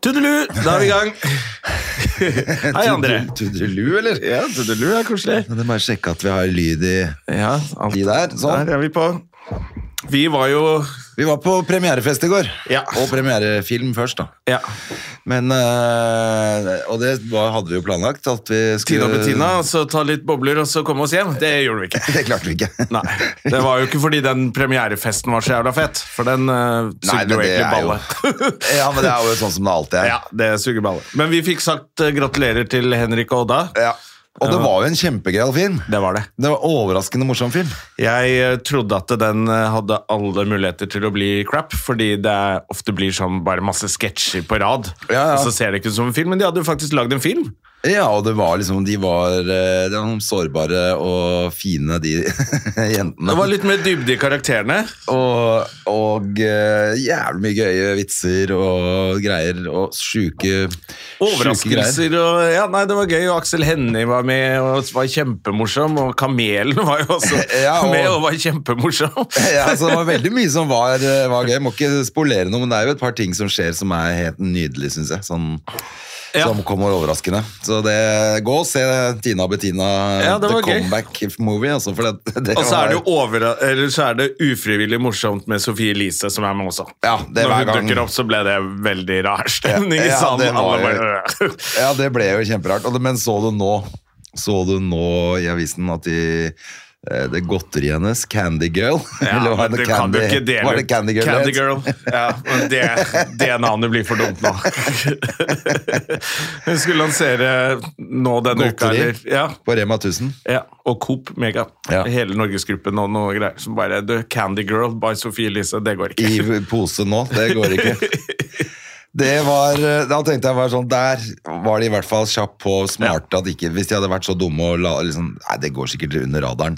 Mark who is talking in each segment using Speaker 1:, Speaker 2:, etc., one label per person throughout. Speaker 1: Tudelu, da er vi i gang. Hei, André.
Speaker 2: Tudelu- Tudelu, eller? Ja, tudelu er koselig. Det er bare å sjekke at vi har lyd i
Speaker 1: Ja, alt
Speaker 2: De der, sånn.
Speaker 1: Der er vi på. Vi var jo
Speaker 2: Vi var på premierefest i går.
Speaker 1: Ja.
Speaker 2: Og premierefilm først, da.
Speaker 1: ja,
Speaker 2: Men eh, Og det var, hadde vi jo planlagt. At vi skulle
Speaker 1: Tina Bettina, og så ta litt bobler og så komme oss hjem. Det gjorde vi ikke.
Speaker 2: Det klarte vi ikke.
Speaker 1: Nei, Det var jo ikke fordi den premierefesten var så jævla fett, for den uh,
Speaker 2: Nei,
Speaker 1: sugde jo
Speaker 2: men det
Speaker 1: egentlig
Speaker 2: er jo-
Speaker 1: balle.
Speaker 2: Ja, men det er jo sånn som det alltid er.
Speaker 1: ja, det suger balle. Men vi fikk sagt eh, gratulerer til Henrik og Odda.
Speaker 2: Ja. Og det var jo en kjempegøyal film.
Speaker 1: Det var det.
Speaker 2: Det var Overraskende morsom film.
Speaker 1: Jeg eh, trodde at den eh, hadde alle muligheter til å bli crap, fordi det er- ofte blir sånn bare masse sketsjer på rad,
Speaker 2: Ja, ja.
Speaker 1: og så ser det ikke ut som en film, men de hadde jo faktisk lagd en film.
Speaker 2: Ja, og det var liksom De var, eh, de var sårbare og fine, de jentene.
Speaker 1: Det var litt mer dybde i karakterene.
Speaker 2: Og, og eh, jævlig mye gøye vitser og greier og sjuke sjuke greier.
Speaker 1: Overraskelser og Ja, nei, det var gøy. Og Aksel Hennie var med og var kjempemorsom. Og Kamelen var jo også
Speaker 2: Ja, og-
Speaker 1: med og var kjempemorsom.
Speaker 2: Ja, så det var veldig mye som var, eh, var gøy. Jeg må ikke spolere noe, men det er jo et par ting som skjer som er helt nydelig, syns jeg. Sånn,
Speaker 1: Ja.
Speaker 2: Som kommer overraskende. Så det, gå og se Tina og Bettina,
Speaker 1: Ja, det
Speaker 2: The
Speaker 1: var gøy.
Speaker 2: Comeback Movie. Altså, for det, det
Speaker 1: Og så
Speaker 2: var-
Speaker 1: er det jo over, eller så er det ufrivillig morsomt med Sofie Elise, som er med også.
Speaker 2: Ja, det er
Speaker 1: Når
Speaker 2: hver
Speaker 1: hun
Speaker 2: gang.
Speaker 1: dukker opp, så ble det veldig rar stemning
Speaker 2: Ja,
Speaker 1: i
Speaker 2: ja, det
Speaker 1: salen.
Speaker 2: var
Speaker 1: Alle bare,
Speaker 2: Ja, det ble jo kjemperart. Og det- Men så du nå Så du nå i avisen at de eh, det godteriet hennes, Candy Girl
Speaker 1: ja,
Speaker 2: Eller var
Speaker 1: men
Speaker 2: det
Speaker 1: du kan jo ikke dele
Speaker 2: var det Candy Girl? det het?
Speaker 1: Ja, men det, det navnet blir for dumt nå. Hun skulle lansere nå denne uka,
Speaker 2: Godteri.
Speaker 1: eller? Ja.
Speaker 2: På Rema 1000.
Speaker 1: Ja, og Coop Mega.
Speaker 2: Ja.
Speaker 1: Hele Norgesgruppen og noe greier. Som bare du, Candy Girl by Sofie Elise, det går ikke.
Speaker 2: I pose nå. Det går ikke. Det var, eh, da tenkte jeg bare sånn, Der var de i hvert fall kjapp på smarte. At ikke, hvis de hadde vært så dumme og la liksom, Nei, det går sikkert under radaren.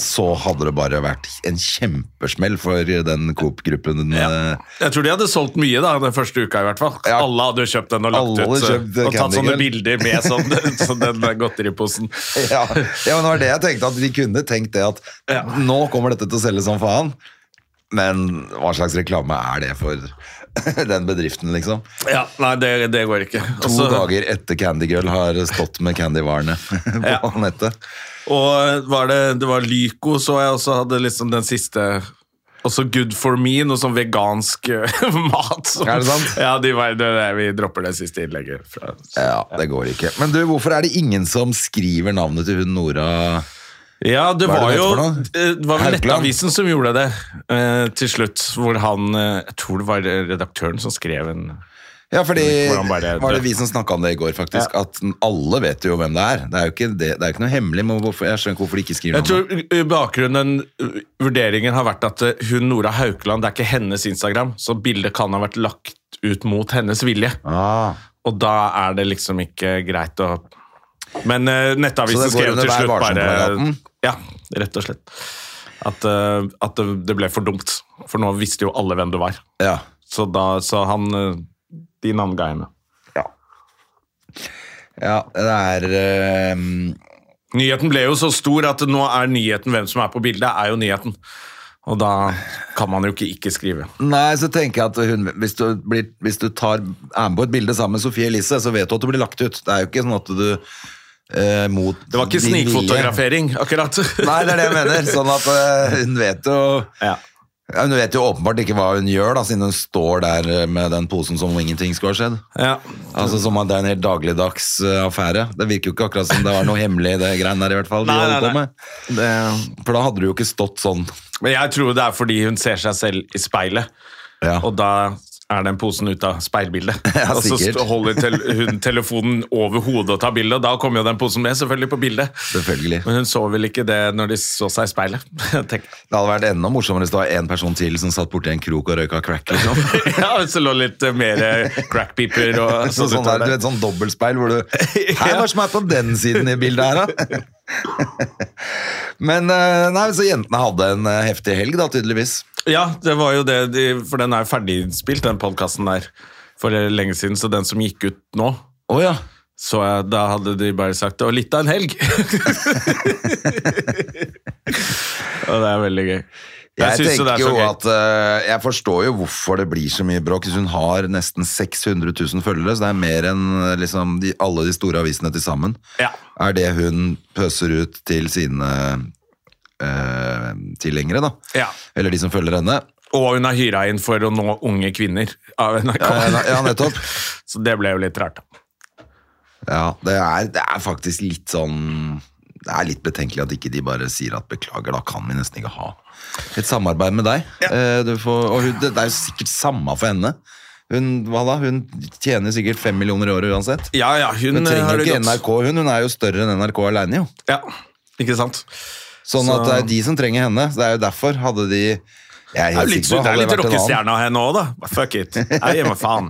Speaker 2: Så hadde det bare vært en kjempesmell for den Coop-gruppen. eh,
Speaker 1: Jeg tror de hadde solgt mye da, den første uka i hvert fall.
Speaker 2: Ja.
Speaker 1: Alle hadde jo kjøpt den og lagt
Speaker 2: Alle
Speaker 1: ut
Speaker 2: hadde
Speaker 1: så-
Speaker 2: kjøpt, eh,
Speaker 1: og tatt
Speaker 2: Candy
Speaker 1: sånne
Speaker 2: Girl.
Speaker 1: bilder med sånn, sånn den der godteriposen.
Speaker 2: ja, ja, men det var det jeg tenkte, at de kunne tenkt det at
Speaker 1: Ja.
Speaker 2: nå kommer dette til å selge som faen. Men hva slags reklame er det for den bedriften, liksom?
Speaker 1: Ja, nei, det, det går ikke.
Speaker 2: To
Speaker 1: Også-
Speaker 2: dager etter Candy Girl har stått med candyvarene på
Speaker 1: Ja.
Speaker 2: nettet.
Speaker 1: Og var det, det var Lyco, så jeg også hadde liksom den siste også Good for me, noe sånn vegansk eh, mat. som-
Speaker 2: Er det sant?
Speaker 1: Ja, de var, det, det, vi dropper det siste innlegget. Fra.
Speaker 2: Ja, det går ikke. Men du, hvorfor er det ingen som skriver navnet til hun Nora?
Speaker 1: Ja, det
Speaker 2: Hva er
Speaker 1: var
Speaker 2: det
Speaker 1: jo
Speaker 2: det heter for noe?
Speaker 1: eh, Det var vel
Speaker 2: Haukeland?
Speaker 1: Nettavisen som gjorde det eh, til slutt, hvor han eh, Jeg tror det var redaktøren som skrev en
Speaker 2: Ja, fordi
Speaker 1: Hvordan var det-
Speaker 2: var det vi som snakka om det i går, faktisk. At alle vet jo hvem det er. Det er jo ikke, det, det er jo ikke noe hemmelig. Men hvorfor, jeg skjønner ikke hvorfor de ikke skriver
Speaker 1: Jeg
Speaker 2: navnet.
Speaker 1: tror i bakgrunnen, eh, vurderingen har vært at eh, hun Nora Haukeland, det er ikke hennes Instagram, så bildet kan ha vært lagt ut mot hennes vilje.
Speaker 2: Ah.
Speaker 1: Og da er det liksom ikke greit å Men eh,
Speaker 2: Så
Speaker 1: Nettavisen
Speaker 2: det går
Speaker 1: skrev
Speaker 2: under
Speaker 1: til
Speaker 2: Vær
Speaker 1: slutt bare
Speaker 2: varsom-plakaten?
Speaker 1: Ja, rett og slett. At, eh, at det det ble for dumt. For nå visste jo alle hvem du var.
Speaker 2: Ja.
Speaker 1: Så, da, så han eh, De navnga henne.
Speaker 2: ja, det er eh,
Speaker 1: Nyheten ble jo så stor at nå er nyheten hvem som er på bildet, er jo nyheten. Og da kan man jo ikke ikke skrive.
Speaker 2: Nei, så tenker jeg at hun, hvis du, blir, hvis du tar, er med på et bilde sammen med Sofie Elise, så vet du at du blir lagt ut. Det er jo ikke sånn at du eh, mot
Speaker 1: Det var ikke
Speaker 2: din vilje-
Speaker 1: snikfotografering, akkurat.
Speaker 2: Nei, det er det jeg mener. Sånn at eh, hun vet jo
Speaker 1: Ja.
Speaker 2: ja, Hun vet jo åpenbart ikke hva hun gjør, da, siden hun står der eh, med den posen som om ingenting skulle ha skjedd.
Speaker 1: Ja.
Speaker 2: Altså Som at det er en helt dagligdags eh, affære. Det virker jo ikke akkurat som det var noe hemmelig i det greiene der, i hvert fall. de
Speaker 1: Nei, nei,
Speaker 2: holder på
Speaker 1: nei.
Speaker 2: med. For da hadde du jo ikke stått sånn.
Speaker 1: Men jeg tror det er fordi hun ser seg selv i speilet,
Speaker 2: Ja.
Speaker 1: og da er den posen ut av speilbildet.
Speaker 2: Ja,
Speaker 1: og så
Speaker 2: sikkert.
Speaker 1: st- holder tel hun telefonen over hodet og tar bilde, og da kommer jo den posen med, selvfølgelig, på bildet.
Speaker 2: Selvfølgelig.
Speaker 1: Men hun så vel ikke det når de så seg i speilet. Tenk.
Speaker 2: Det hadde vært enda morsommere hvis det var en person til som satt borti en krok og røyka crack. liksom.
Speaker 1: Ja, hvis det lå litt eh, mer eh, crackpiper og
Speaker 2: Så sånn der,
Speaker 1: utover
Speaker 2: du
Speaker 1: der.
Speaker 2: vet, sånn dobbeltspeil hvor du Hei, hva er det som er på den siden i bildet her, da? Men eh, nei, så jentene hadde en eh, heftig helg, da, tydeligvis.
Speaker 1: Ja, det var jo det, de, for den er jo ferdiginnspilt, den podkasten der, for eh, lenge siden. Så den som gikk ut nå,
Speaker 2: Å ja.
Speaker 1: så jeg, da hadde de bare sagt det var litt av en helg. og det er veldig gøy.
Speaker 2: Jeg,
Speaker 1: synes
Speaker 2: tenker jo at eh, Jeg forstår jo hvorfor det blir så mye bråk. Hvis hun har nesten 600 000 følgere, så det er mer enn eh, liksom, de, alle de store avisene til sammen.
Speaker 1: Ja.
Speaker 2: Er det hun pøser ut til sine eh, tilhengere, da.
Speaker 1: Ja.
Speaker 2: Eller de som følger henne.
Speaker 1: Og hun har hyra inn for å nå unge kvinner av NRK.
Speaker 2: Ja, Eh, ja, nettopp.
Speaker 1: Så det ble jo litt rart. da.
Speaker 2: Ja, det er, det er faktisk litt sånn Det er litt betenkelig at ikke de bare sier at beklager, da kan vi nesten ikke ha et samarbeid med deg. Eh, Du får, og hun, det, det er jo sikkert samme for henne. Hun, hva da? hun tjener sikkert fem millioner i året uansett.
Speaker 1: Ja, ja, hun, eh,
Speaker 2: Hun
Speaker 1: har
Speaker 2: trenger jo
Speaker 1: det
Speaker 2: ikke
Speaker 1: godt.
Speaker 2: NRK, hun. Hun er jo større enn NRK alene, jo.
Speaker 1: Ja, ikke sant?
Speaker 2: Sånn
Speaker 1: Så-
Speaker 2: at det er de som trenger henne. Det er jo derfor hadde de jeg er
Speaker 1: Det er
Speaker 2: helt
Speaker 1: litt,
Speaker 2: sikker på,
Speaker 1: det er
Speaker 2: hadde
Speaker 1: litt
Speaker 2: det vært en annen-
Speaker 1: rockestjerne av henne òg, da. Fuck it. Jeg gir meg faen.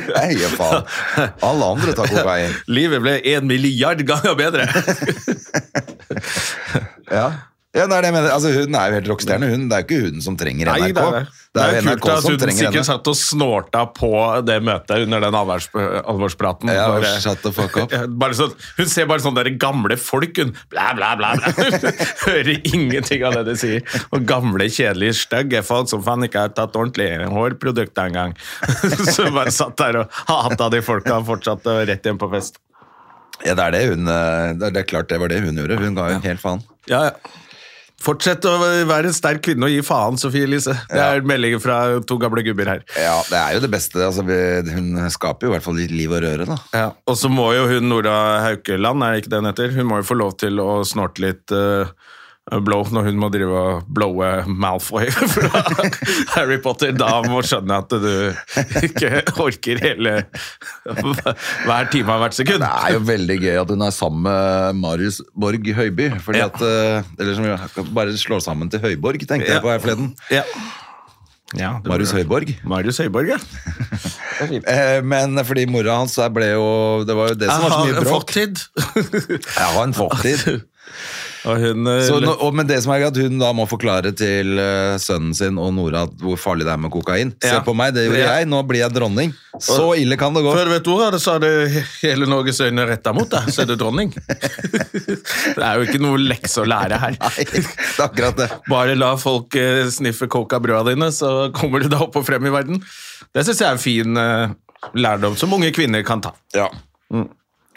Speaker 2: Nei, ja, faen. Alle andre tar kokain.
Speaker 1: Livet ble en milliard ganger bedre.
Speaker 2: Ja. Ja, det er det jeg mener. Altså, hun er jo helt rockestjerne. Hun, det er jo ikke hun som trenger NRK.
Speaker 1: Nei, det er det.
Speaker 2: Det er
Speaker 1: kult
Speaker 2: jo NRK
Speaker 1: at
Speaker 2: som
Speaker 1: hun
Speaker 2: trenger
Speaker 1: sikkert
Speaker 2: henne.
Speaker 1: satt og snorta på det møtet under den alvors, alvorspraten.
Speaker 2: Ja, og
Speaker 1: Bare-
Speaker 2: shut the fuck up.
Speaker 1: Bare sånn, hun ser bare sånne der gamle folk, hun. Blæ, blæ, blæ. blæ. Hører ingenting av det de sier. Og gamle, kjedelige, stygge folk som faen ikke har tatt ordentlig hårprodukt engang. Så hun bare satt der og hata de folka og fortsatte rett hjem på fest.
Speaker 2: Ja, det er det hun eh, Det er- det er klart det var det hun gjorde. Hun ga jo helt faen.
Speaker 1: Ja, ja. Fortsett å være en sterk kvinne og gi faen, Sofie Elise. Det er meldinger fra to gamle gubber her.
Speaker 2: Ja, det er jo det beste. Altså, vi- hun skaper jo i hvert fall litt liv og røre, da.
Speaker 1: Ja, og så må jo hun, Nora Haukeland, er det ikke det hun heter? Hun må jo få lov til å snorte litt eh, blow når hun må drive og blowe Malfoy fra Harry Potter. Da må hun skjønne at du ikke orker hele hver time av hvert sekund.
Speaker 2: Det er jo veldig gøy at hun er sammen med Marius Borg Høiby. Fordi
Speaker 1: Ja.
Speaker 2: at, eh, eller som jo bare slår sammen til Høyborg, tenkte
Speaker 1: Ja.
Speaker 2: jeg på her forleden.
Speaker 1: Ja. Ja, det
Speaker 2: Marius
Speaker 1: blir-
Speaker 2: Høiborg.
Speaker 1: Marius Høiborg, ja.
Speaker 2: Eh, Men fordi mora hans der ble jo Det var jo det som var så mye bråk.
Speaker 1: fortid.
Speaker 2: Jeg har en fortid.
Speaker 1: og hun eh,
Speaker 2: Så nå, og, men det som er gøy at hun da må forklare til eh, sønnen sin og Nora at hvor farlig det er med kokain. Se
Speaker 1: Ja.
Speaker 2: på meg, det gjorde
Speaker 1: Ja.
Speaker 2: jeg. Nå blir jeg dronning. Så ille kan det gå.
Speaker 1: Før du vet ordet av det, så er det hele Norges øyne retta mot deg, så er du dronning. Det er jo ikke noe lekse å lære her.
Speaker 2: Nei, det er akkurat det.
Speaker 1: Bare la folk eh, sniffe coke av brøda dine, så kommer du deg opp og frem i verden. Det syns jeg er en fin eh, lærdom som unge kvinner kan ta.
Speaker 2: Mm.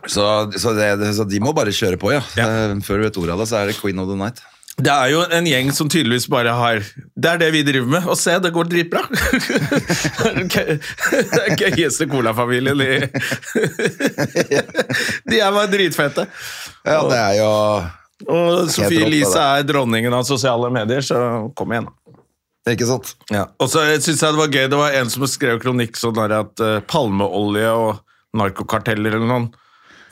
Speaker 2: Så, så, det, så de må bare kjøre på, ja.
Speaker 1: Ja.
Speaker 2: Eh, Før du vet ordet av det, så er det queen of the night.
Speaker 1: Det er jo en gjeng som tydeligvis bare har Det er det vi driver med. Og se, det går dritbra! Det er den gøyeste colafamilien i De er bare dritfete.
Speaker 2: Ja, det er jo
Speaker 1: Og Sofie
Speaker 2: rått,
Speaker 1: Elise
Speaker 2: det
Speaker 1: er dronningen av sosiale medier, så kom igjen. da.
Speaker 2: Ikke sant?
Speaker 1: Ja. Og så synes jeg det var gøy, det var en som skrev kronikk sånn der at eh, palmeolje og narkokarteller eller noen,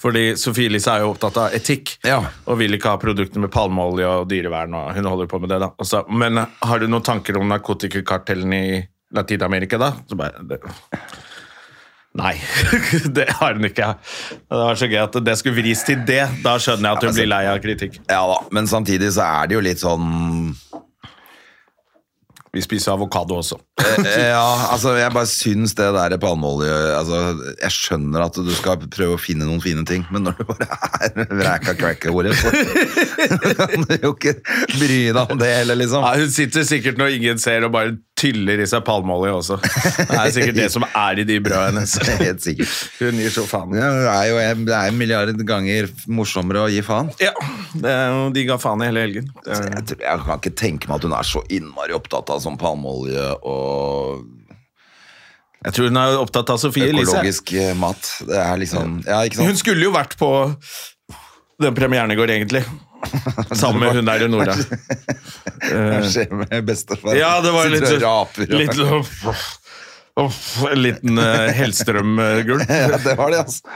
Speaker 1: fordi Sofie Elise er jo opptatt av etikk,
Speaker 2: Ja.
Speaker 1: og vil ikke ha produkter med palmeolje og dyrevern, og hun holder på med det da. Og så, men eh, har du noen tanker om narkotikakartellen i Latinamerika da? Så bare, det... Nei, det har hun ikke. Og Det var så gøy at det skulle vris til det. Da skjønner jeg at hun blir lei av kritikk.
Speaker 2: Ja da, men samtidig så er det jo litt sånn
Speaker 1: Vi spiser avokado også.
Speaker 2: Eh, Ja, altså jeg bare syns det der palmeolje altså, Jeg skjønner at du skal prøve å finne noen fine ting, men når du bare er vreka crack-ordet, så kan du jo ikke bry deg om det heller, liksom.
Speaker 1: Ja, hun sitter sikkert når ingen ser og bare tyller i seg palmeolje også. Det er sikkert det som er i de brødene hennes.
Speaker 2: Helt sikkert.
Speaker 1: Hun gir så faen.
Speaker 2: Ja, Det er jo en, det er en milliard ganger morsommere å gi faen.
Speaker 1: Ja, det er jo de ga faen i hele helgen. Det er-
Speaker 2: Jeg, tror, jeg kan ikke tenke meg at hun er så innmari opptatt av sånn palmeolje og
Speaker 1: Jeg tror hun er opptatt av Sofie Elise.
Speaker 2: økologisk eh, mat. Det er liksom Ja, ikke
Speaker 1: Hun
Speaker 2: sant?
Speaker 1: skulle jo vært på den premieren i går, egentlig. Sammen med hun der i Nora.
Speaker 2: Hva skjer med bestefar?
Speaker 1: Ja, det var litt
Speaker 2: Sitter og raper.
Speaker 1: litt sånn- Uff, en liten eh, Hellstrøm-gulp.
Speaker 2: Ja, det var det, altså.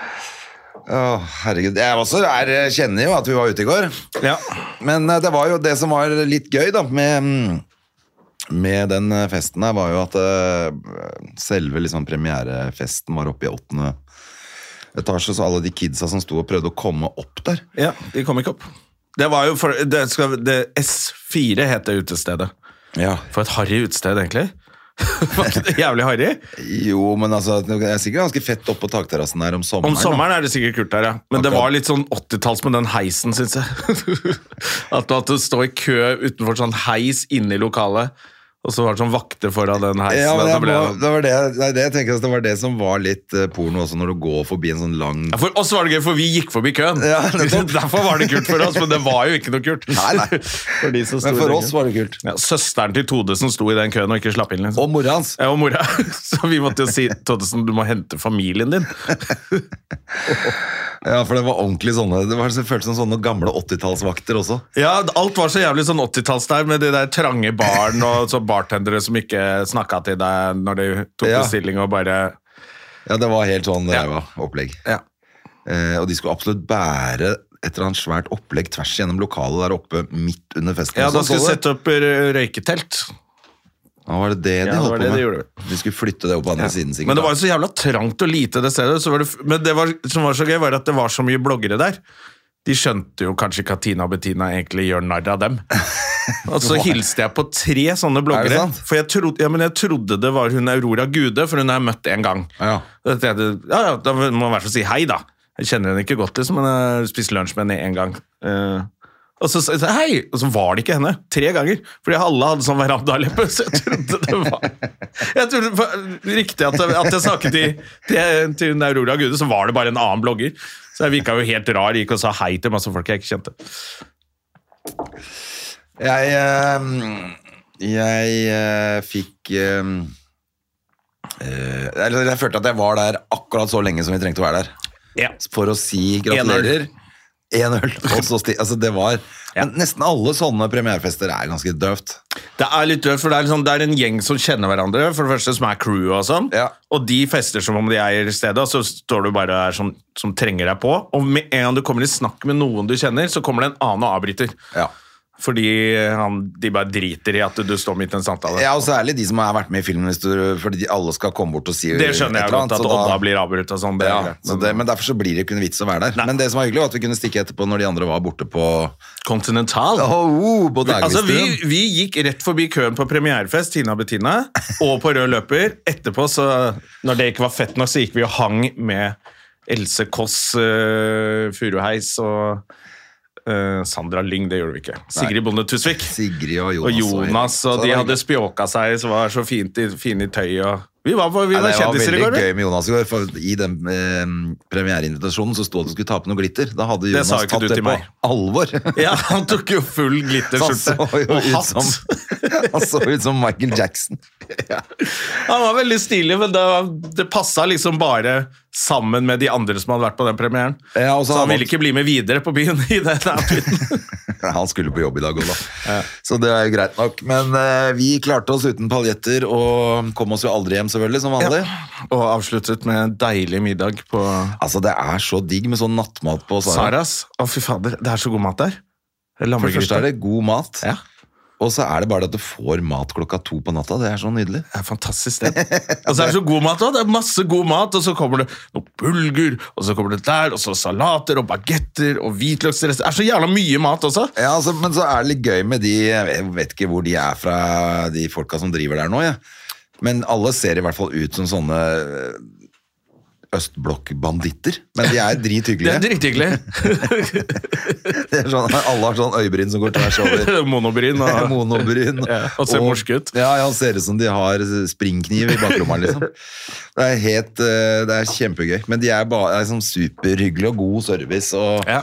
Speaker 2: Å, herregud. Jeg også er, kjenner jo at vi var ute i går.
Speaker 1: Ja.
Speaker 2: Men eh, det var jo det som var litt gøy da, med, mm, med den eh, festen her, var jo at eh, selve liksom, premierefesten var oppe i åttende etasje, så alle de kidsa som sto og prøvde å komme opp der.
Speaker 1: ja, de kom ikke opp. Det var jo for, det skal, det, S4 het det utestedet.
Speaker 2: Ja.
Speaker 1: For et harry utested, egentlig. Var ikke det Jævlig harry.
Speaker 2: Jo, men altså, det er sikkert ganske fett oppe på takterrassen der om sommeren.
Speaker 1: Om sommeren er det sikkert kult der, ja. Men det
Speaker 2: Akkurat.
Speaker 1: var litt sånn 80-talls med den heisen, syns jeg. At du måtte stå i kø utenfor sånn heis inne i lokalet, og så var det sånn vakter foran den heisen.
Speaker 2: Ja, men
Speaker 1: og
Speaker 2: jeg
Speaker 1: da ble
Speaker 2: må,
Speaker 1: det-
Speaker 2: det, var det, nei, det, jeg tenker at det var det som var litt eh, porno også, når du går forbi en sånn lang
Speaker 1: Ja, For oss var det gøy, for vi gikk forbi køen.
Speaker 2: Ja, nettopp.
Speaker 1: Derfor var det kult for oss, men det var jo ikke noe kult.
Speaker 2: Nei, nei.
Speaker 1: For de som sto
Speaker 2: Men
Speaker 1: i
Speaker 2: for
Speaker 1: den
Speaker 2: oss
Speaker 1: køen.
Speaker 2: var det kult.
Speaker 1: ja, Søsteren til Tode som sto i den køen og ikke slapp inn. Liksom.
Speaker 2: Og mora hans.
Speaker 1: Jeg og mora. Så vi måtte jo si Toddesen, du må hente familien din.
Speaker 2: Ja, for det var ordentlig sånne Det var så- føltes som sånne gamle 80-tallsvakter også.
Speaker 1: Ja, Alt var så jævlig sånn 80-talls der, med de der trange baren og så bartendere som ikke snakka til deg når de tok
Speaker 2: Ja.
Speaker 1: bestilling og bare
Speaker 2: Ja, det var helt sånn
Speaker 1: Ja.
Speaker 2: ræva opplegg.
Speaker 1: ja.
Speaker 2: Eh, og de skulle absolutt bære et eller annet svært opplegg tvers gjennom lokalet der oppe midt under festen.
Speaker 1: ja,
Speaker 2: også,
Speaker 1: da skulle vi
Speaker 2: så du Sånn det?
Speaker 1: sette opp eh, røyketelt.
Speaker 2: Ja, var det det de
Speaker 1: Ja, det var det
Speaker 2: holdt på
Speaker 1: de
Speaker 2: med?
Speaker 1: gjorde.
Speaker 2: de skulle flytte det opp på andre siden, sikkert.
Speaker 1: Men det
Speaker 2: da.
Speaker 1: var jo så jævla trangt og lite det stedet. Så var det, f- men det var, som var så gøy, var at det var så mye bloggere der. De skjønte jo kanskje ikke at Tina og Bettina egentlig gjør narr av dem. Og så hilste jeg på tre sånne
Speaker 2: Er det
Speaker 1: bloggere.
Speaker 2: sant?
Speaker 1: For jeg trodde, ja, men jeg trodde det var hun Aurora Gude, for hun har jeg møtt en gang.
Speaker 2: Ja.
Speaker 1: Da tenkte jeg, ja, ja, da må jeg i hvert fall si hei, da. Jeg kjenner henne ikke godt, liksom, men jeg har spist lunsj med henne én gang. Eh, og så sa jeg hei, og så var det ikke henne. Tre ganger. Fordi alle hadde sånn verandaleppe, så jeg trodde det var Jeg trodde for- Riktig at, jeg- at jeg snakket til, til, til hun Aurora Gude, så var det bare en annen blogger. Så jeg virka jo helt rar, gikk og sa hei til masse folk jeg ikke kjente.
Speaker 2: Jeg, eh, jeg eh, fikk eh, eh, Eller jeg følte at jeg var der akkurat så lenge som vi trengte å være der.
Speaker 1: Ja.
Speaker 2: for å si gratulerer. 1-0. og så sti- Altså, det var
Speaker 1: Ja.
Speaker 2: Men nesten alle sånne premierefester er ganske døvt.
Speaker 1: Det er litt døvt, for det er, liksom, det er en gjeng som kjenner hverandre. For det første som er crewet og sånn.
Speaker 2: Ja.
Speaker 1: Og de fester som om de eier stedet, og så står du bare der som, som trenger deg på. Og med en gang du kommer i snakk med noen du kjenner, så kommer det en annen og avbryter.
Speaker 2: Ja.
Speaker 1: Fordi han, de bare driter i at du står midt i en samtale.
Speaker 2: ja, og særlig de som har vært med i filmen, hvis du- fordi de alle skal komme bort og si
Speaker 1: Det skjønner
Speaker 2: et
Speaker 1: jeg
Speaker 2: eller
Speaker 1: godt,
Speaker 2: annet,
Speaker 1: at
Speaker 2: så
Speaker 1: Odda blir avbrutt og sånn. det er
Speaker 2: ja,
Speaker 1: greit,
Speaker 2: så det, men derfor så blir det ikke noen vits å være der. Men det som var hyggelig, var at vi kunne stikke etterpå når de andre var borte på
Speaker 1: Continental.
Speaker 2: oh, på
Speaker 1: Altså, vi,
Speaker 2: Dagligstuen.
Speaker 1: vi gikk rett forbi køen på premierefest, Tina og Bettina, og på rød løper. Etterpå, så, når det ikke var fett nok, så gikk vi og hang med Else Kåss eh, Furuheis og eh, Sandra Lyng. Det gjorde vi ikke. Sigrid Bonde Tusvik.
Speaker 2: Sigrid og
Speaker 1: Og
Speaker 2: Jonas.
Speaker 1: Jonas, og
Speaker 2: Så det
Speaker 1: de
Speaker 2: var
Speaker 1: hadde
Speaker 2: hyggelig.
Speaker 1: spjåka seg, som var så fint i, fine i tøy. Og vi var, vi
Speaker 2: Nei,
Speaker 1: var
Speaker 2: det var
Speaker 1: kjendiser i
Speaker 2: veldig
Speaker 1: går. vi.
Speaker 2: gøy med Jonas i går, for i den eh, premiereinvitasjonen så sto det at du skulle ta på noe glitter. Da hadde
Speaker 1: Det
Speaker 2: Jonas
Speaker 1: sa ikke
Speaker 2: tatt
Speaker 1: du
Speaker 2: det
Speaker 1: til
Speaker 2: på
Speaker 1: meg.
Speaker 2: alvor.
Speaker 1: Ja, Han tok jo full
Speaker 2: Han
Speaker 1: glitterskjorte
Speaker 2: så jo
Speaker 1: og
Speaker 2: ut
Speaker 1: hatt.
Speaker 2: som, han så ut som Michael Jackson.
Speaker 1: Han var veldig stilig, men det, det passa liksom bare sammen med de andre som hadde vært på den premieren.
Speaker 2: Ja, og så
Speaker 1: Eh, så han
Speaker 2: hadde-
Speaker 1: ville ikke bli med videre på byen i den outfiten.
Speaker 2: Nei, Han skulle på jobb i dag òg, da. Så det er jo greit nok. Men eh, vi klarte oss uten paljetter og kom oss jo aldri hjem, selvfølgelig, som vanlig.
Speaker 1: Og avsluttet med en deilig middag på
Speaker 2: Altså, det er så digg med sånn nattmat på Sara.
Speaker 1: Saras. Å, fy fader, det er så god mat der.
Speaker 2: For det første er
Speaker 1: Lammegryte.
Speaker 2: det god mat,
Speaker 1: Ja,
Speaker 2: og så er det bare det at du får mat klokka to på natta. Det er så nydelig.
Speaker 1: det er et fantastisk sted. Og så er det så god mat òg. Det er masse god mat, og så kommer det noe bulgur, og så kommer det der, og så salater og bagetter og hvitløksrester. Det er så jævla mye mat også.
Speaker 2: Ja, altså, Men så er det litt gøy med de Jeg vet ikke hvor de er fra, de folka som driver der nå. Ja. Men alle ser i hvert fall ut som sånne eh, østblokkbanditter. Men de er
Speaker 1: Det er
Speaker 2: drithyggelige.
Speaker 1: drithyggelig.
Speaker 2: Det er sånn, alle har sånn øyebryn som går tvers over.
Speaker 1: Monobryn og
Speaker 2: Monobryn.
Speaker 1: Ja, og ser morsk ut.
Speaker 2: Ja, ja, han ser ut som de har springkniv i baklomma, liksom. Det er, helt, eh, det er kjempegøy. Men de er bare det er sånn superhyggelige og god service. Og,
Speaker 1: Ja.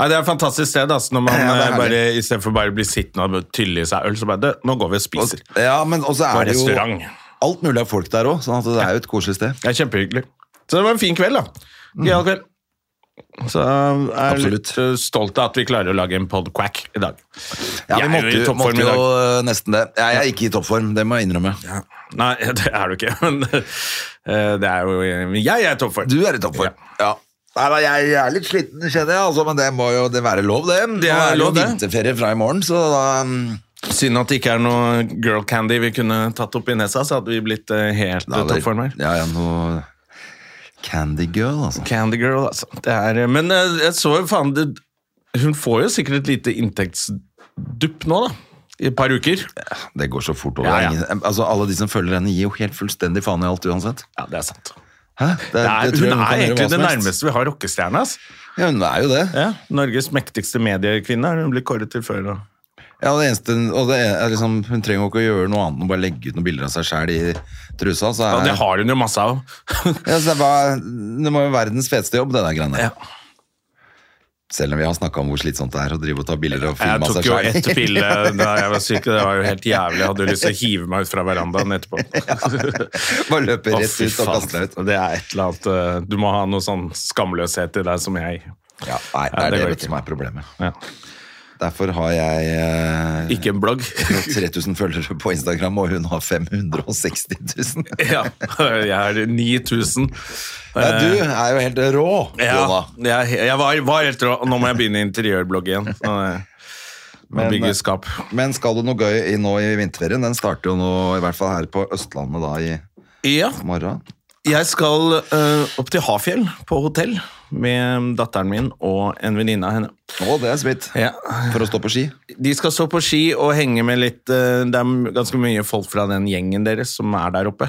Speaker 1: Nei, det er et fantastisk sted, altså, når man
Speaker 2: Ja, det er
Speaker 1: eh,
Speaker 2: herlig.
Speaker 1: bare, i stedet for bare å bli sittende og tylle i seg øl, så bare, det, nå går vi og
Speaker 2: og,
Speaker 1: spiser.
Speaker 2: ja, men også
Speaker 1: På
Speaker 2: er det jo
Speaker 1: restaurant.
Speaker 2: alt mulig av folk der òg, sånn at det er jo et koselig sted.
Speaker 1: Mm. Det er kjempehyggelig. Så det var en fin kveld, da. Gøyal kveld. Så jeg er
Speaker 2: Absolutt.
Speaker 1: litt eh, stolt av at vi klarer å lage en podquack i dag.
Speaker 2: Ja,
Speaker 1: Jeg
Speaker 2: vi
Speaker 1: er
Speaker 2: måtte,
Speaker 1: jo i
Speaker 2: jo-
Speaker 1: toppform
Speaker 2: måtte
Speaker 1: i dag.
Speaker 2: jo eh, nesten det. Jeg er ikke i toppform, det må jeg innrømme.
Speaker 1: Nei, det er du ikke, men eh, det er jo Jeg er i toppform.
Speaker 2: Du er i toppform. Ja. Nei, da, jeg, jeg er litt sliten, kjenner jeg, altså, men det må jo det være lov, det. Nå
Speaker 1: Det er
Speaker 2: er det jo
Speaker 1: lov, det.
Speaker 2: vinterferie fra i morgen, så da mm,
Speaker 1: Synd at det ikke er noe girl candy vi kunne tatt opp i nesa, så hadde vi blitt eh, helt
Speaker 2: da
Speaker 1: i
Speaker 2: hadde-
Speaker 1: toppform her.
Speaker 2: Ja, ja, noe Candy girl, altså.
Speaker 1: Candy girl, altså. Det er, men eh, jeg så jo faen det, Hun får jo sikkert et lite inntektsdupp nå, da. I et par uker.
Speaker 2: Det går så fort over.
Speaker 1: Ja, ja.
Speaker 2: Ingen- Altså, alle de som følger henne, gir jo helt fullstendig faen i alt uansett.
Speaker 1: Ja, det er sant.
Speaker 2: Hæ?
Speaker 1: Det er,
Speaker 2: det
Speaker 1: hun
Speaker 2: tror jeg
Speaker 1: er
Speaker 2: kan gjøre
Speaker 1: egentlig
Speaker 2: hva
Speaker 1: det
Speaker 2: som helst.
Speaker 1: nærmeste vi har rockestjerne. ass.
Speaker 2: Ja, hun er jo det.
Speaker 1: Ja, Norges mektigste mediekvinne har hun blitt kåret til før. da.
Speaker 2: Ja, det eneste, og det er liksom, hun trenger jo ikke å gjøre noe annet enn å bare legge ut noen bilder av seg sjæl i trusa. Så er,
Speaker 1: Ja, det har hun jo masse av.
Speaker 2: Ja, så det, var, det må jo være verdens feteste jobb, det der greiene.
Speaker 1: Ja.
Speaker 2: Selv om vi har snakka om hvor slitsomt det er å drive og ta bilder og
Speaker 1: Jeg
Speaker 2: filme av
Speaker 1: tok
Speaker 2: seg
Speaker 1: jo
Speaker 2: sjæl.
Speaker 1: ett pille da jeg var syk, og det var jo helt jævlig. Jeg hadde jo lyst til å hive meg ut fra verandaen etterpå.
Speaker 2: Bare løpe
Speaker 1: Å,
Speaker 2: rett
Speaker 1: fy
Speaker 2: ut og
Speaker 1: faen.
Speaker 2: kaste deg ut.
Speaker 1: Det er et eller annet eh, Du må ha noe sånn skamløshet i deg som jeg.
Speaker 2: Ja, nei,
Speaker 1: Ja,
Speaker 2: det er
Speaker 1: det
Speaker 2: det,
Speaker 1: går ikke.
Speaker 2: vet du, som er problemet.
Speaker 1: Ja.
Speaker 2: Derfor har jeg eh,
Speaker 1: Ikke en blogg.
Speaker 2: 3000 følgere på Instagram, og hun har 560 000.
Speaker 1: Ja, jeg er 9000.
Speaker 2: Ja, du er jo helt rå, Jonna.
Speaker 1: Ja, jeg, jeg var, var helt rå. og Nå må jeg begynne interiørblogg igjen. Nå, Nå
Speaker 2: Men,
Speaker 1: bygger skap.
Speaker 2: Men skal du noe gøy i, nå i vinterferien? Den starter jo nå, i hvert fall her på Østlandet, da i
Speaker 1: Ja,
Speaker 2: morgen.
Speaker 1: jeg skal eh, opp til Hafjell på hotell med datteren min og en venninne av henne.
Speaker 2: Å, det er smitt.
Speaker 1: Ja,
Speaker 2: For å stå på ski.
Speaker 1: De skal stå på ski og henge med litt eh, Det er ganske mye folk fra den gjengen deres som er der oppe.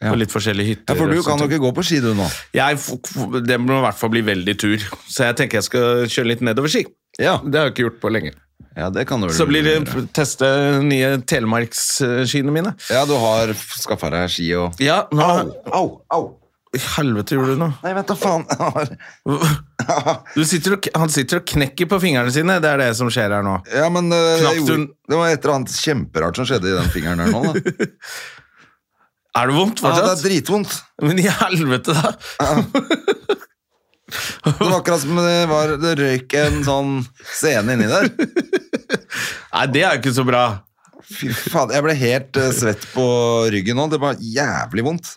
Speaker 1: På litt forskjellige hytter.
Speaker 2: Ja, For du
Speaker 1: og
Speaker 2: kan
Speaker 1: sånne
Speaker 2: jo ikke gå på ski, du nå.
Speaker 1: ting. jeg, f- f- Det må i hvert fall bli veldig tur, så jeg tenker jeg skal kjøre litt nedover ski.
Speaker 2: Ja,
Speaker 1: Det har jeg ikke gjort på lenge.
Speaker 2: ja det kan du vel
Speaker 1: Så blir det
Speaker 2: gjøre.
Speaker 1: f- teste nye telemarksskiene mine.
Speaker 2: Ja, du har skaffa deg ski og
Speaker 1: Ja, nå
Speaker 2: Au, au!
Speaker 1: I Helvete gjorde du nå.
Speaker 2: Nei, vent da, faen!
Speaker 1: Du sitter og, k- han sitter og knekker på fingrene sine. Det er det som skjer her nå.
Speaker 2: Ja, men eh, jeg
Speaker 1: Knapt
Speaker 2: gjorde-
Speaker 1: hun-
Speaker 2: Det var et eller annet kjemperart som skjedde i den fingeren der nå. Da.
Speaker 1: Er det vondt
Speaker 2: Ja, det er
Speaker 1: fortsatt?
Speaker 2: dritvondt.
Speaker 1: Men i helvete, da!
Speaker 2: Det var akkurat som det, var, det røyk en sånn scene inni der.
Speaker 1: Nei, det er jo ikke så bra.
Speaker 2: Fy faen, jeg ble helt eh, svett på ryggen nå. Det var jævlig vondt.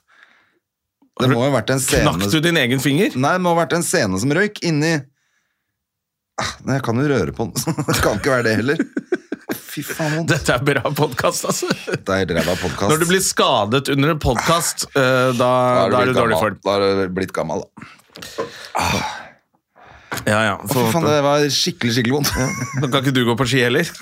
Speaker 2: Det må ha vært en
Speaker 1: Knakk
Speaker 2: scene
Speaker 1: du din egen finger?
Speaker 2: Nei, det må ha vært en scene som røyk inni Ah, Nei, jeg kan jo røre på den, så det kan ikke være det heller. Fy faen, vondt.
Speaker 1: Dette er bra podkast, altså.
Speaker 2: Dette er helt ræva podkast.
Speaker 1: Når du blir skadet under en podkast, da,
Speaker 2: Da
Speaker 1: da er
Speaker 2: blitt
Speaker 1: du dårlig
Speaker 2: gammel.
Speaker 1: for det.
Speaker 2: Da er du blitt gammel, da.
Speaker 1: Ja, ja.
Speaker 2: Å, Fy faen, det var skikkelig, skikkelig vondt.
Speaker 1: Da kan ikke du gå på ski heller.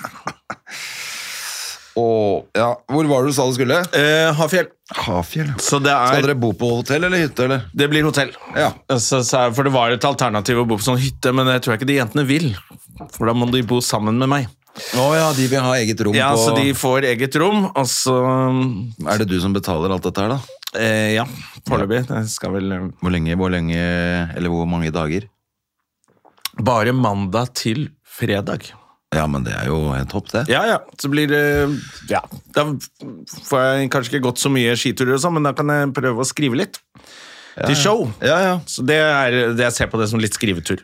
Speaker 2: Og, ja, hvor var det du sa du skulle?
Speaker 1: Eh, Hafjell.
Speaker 2: Hafjell.
Speaker 1: Så det
Speaker 2: Skal
Speaker 1: er
Speaker 2: dere bo på hotell eller hytte, eller?
Speaker 1: Det blir hotell. Eh,
Speaker 2: Ja.
Speaker 1: Så, så, er- for det var et alternativ å bo på sånn hytte, men det tror jeg ikke de jentene vil. For da må de bo sammen med meg.
Speaker 2: Å ja, de vil ha eget rom
Speaker 1: Ja,
Speaker 2: på
Speaker 1: Så de får eget rom, og så
Speaker 2: Er det du som betaler alt dette her, da?
Speaker 1: eh, Ja, foreløpig. Det skal vel eh,
Speaker 2: Hvor lenge, hvor lenge, eller hvor mange dager?
Speaker 1: Bare mandag til fredag.
Speaker 2: Ja, men det er jo helt topp, det.
Speaker 1: Ja, ja. Så blir det Ja. Da får jeg kanskje ikke gått så mye skiturer og sånn, men da kan jeg prøve å skrive litt. Til show.
Speaker 2: Ja, ja.
Speaker 1: Så det er det jeg ser på det som litt skrivetur.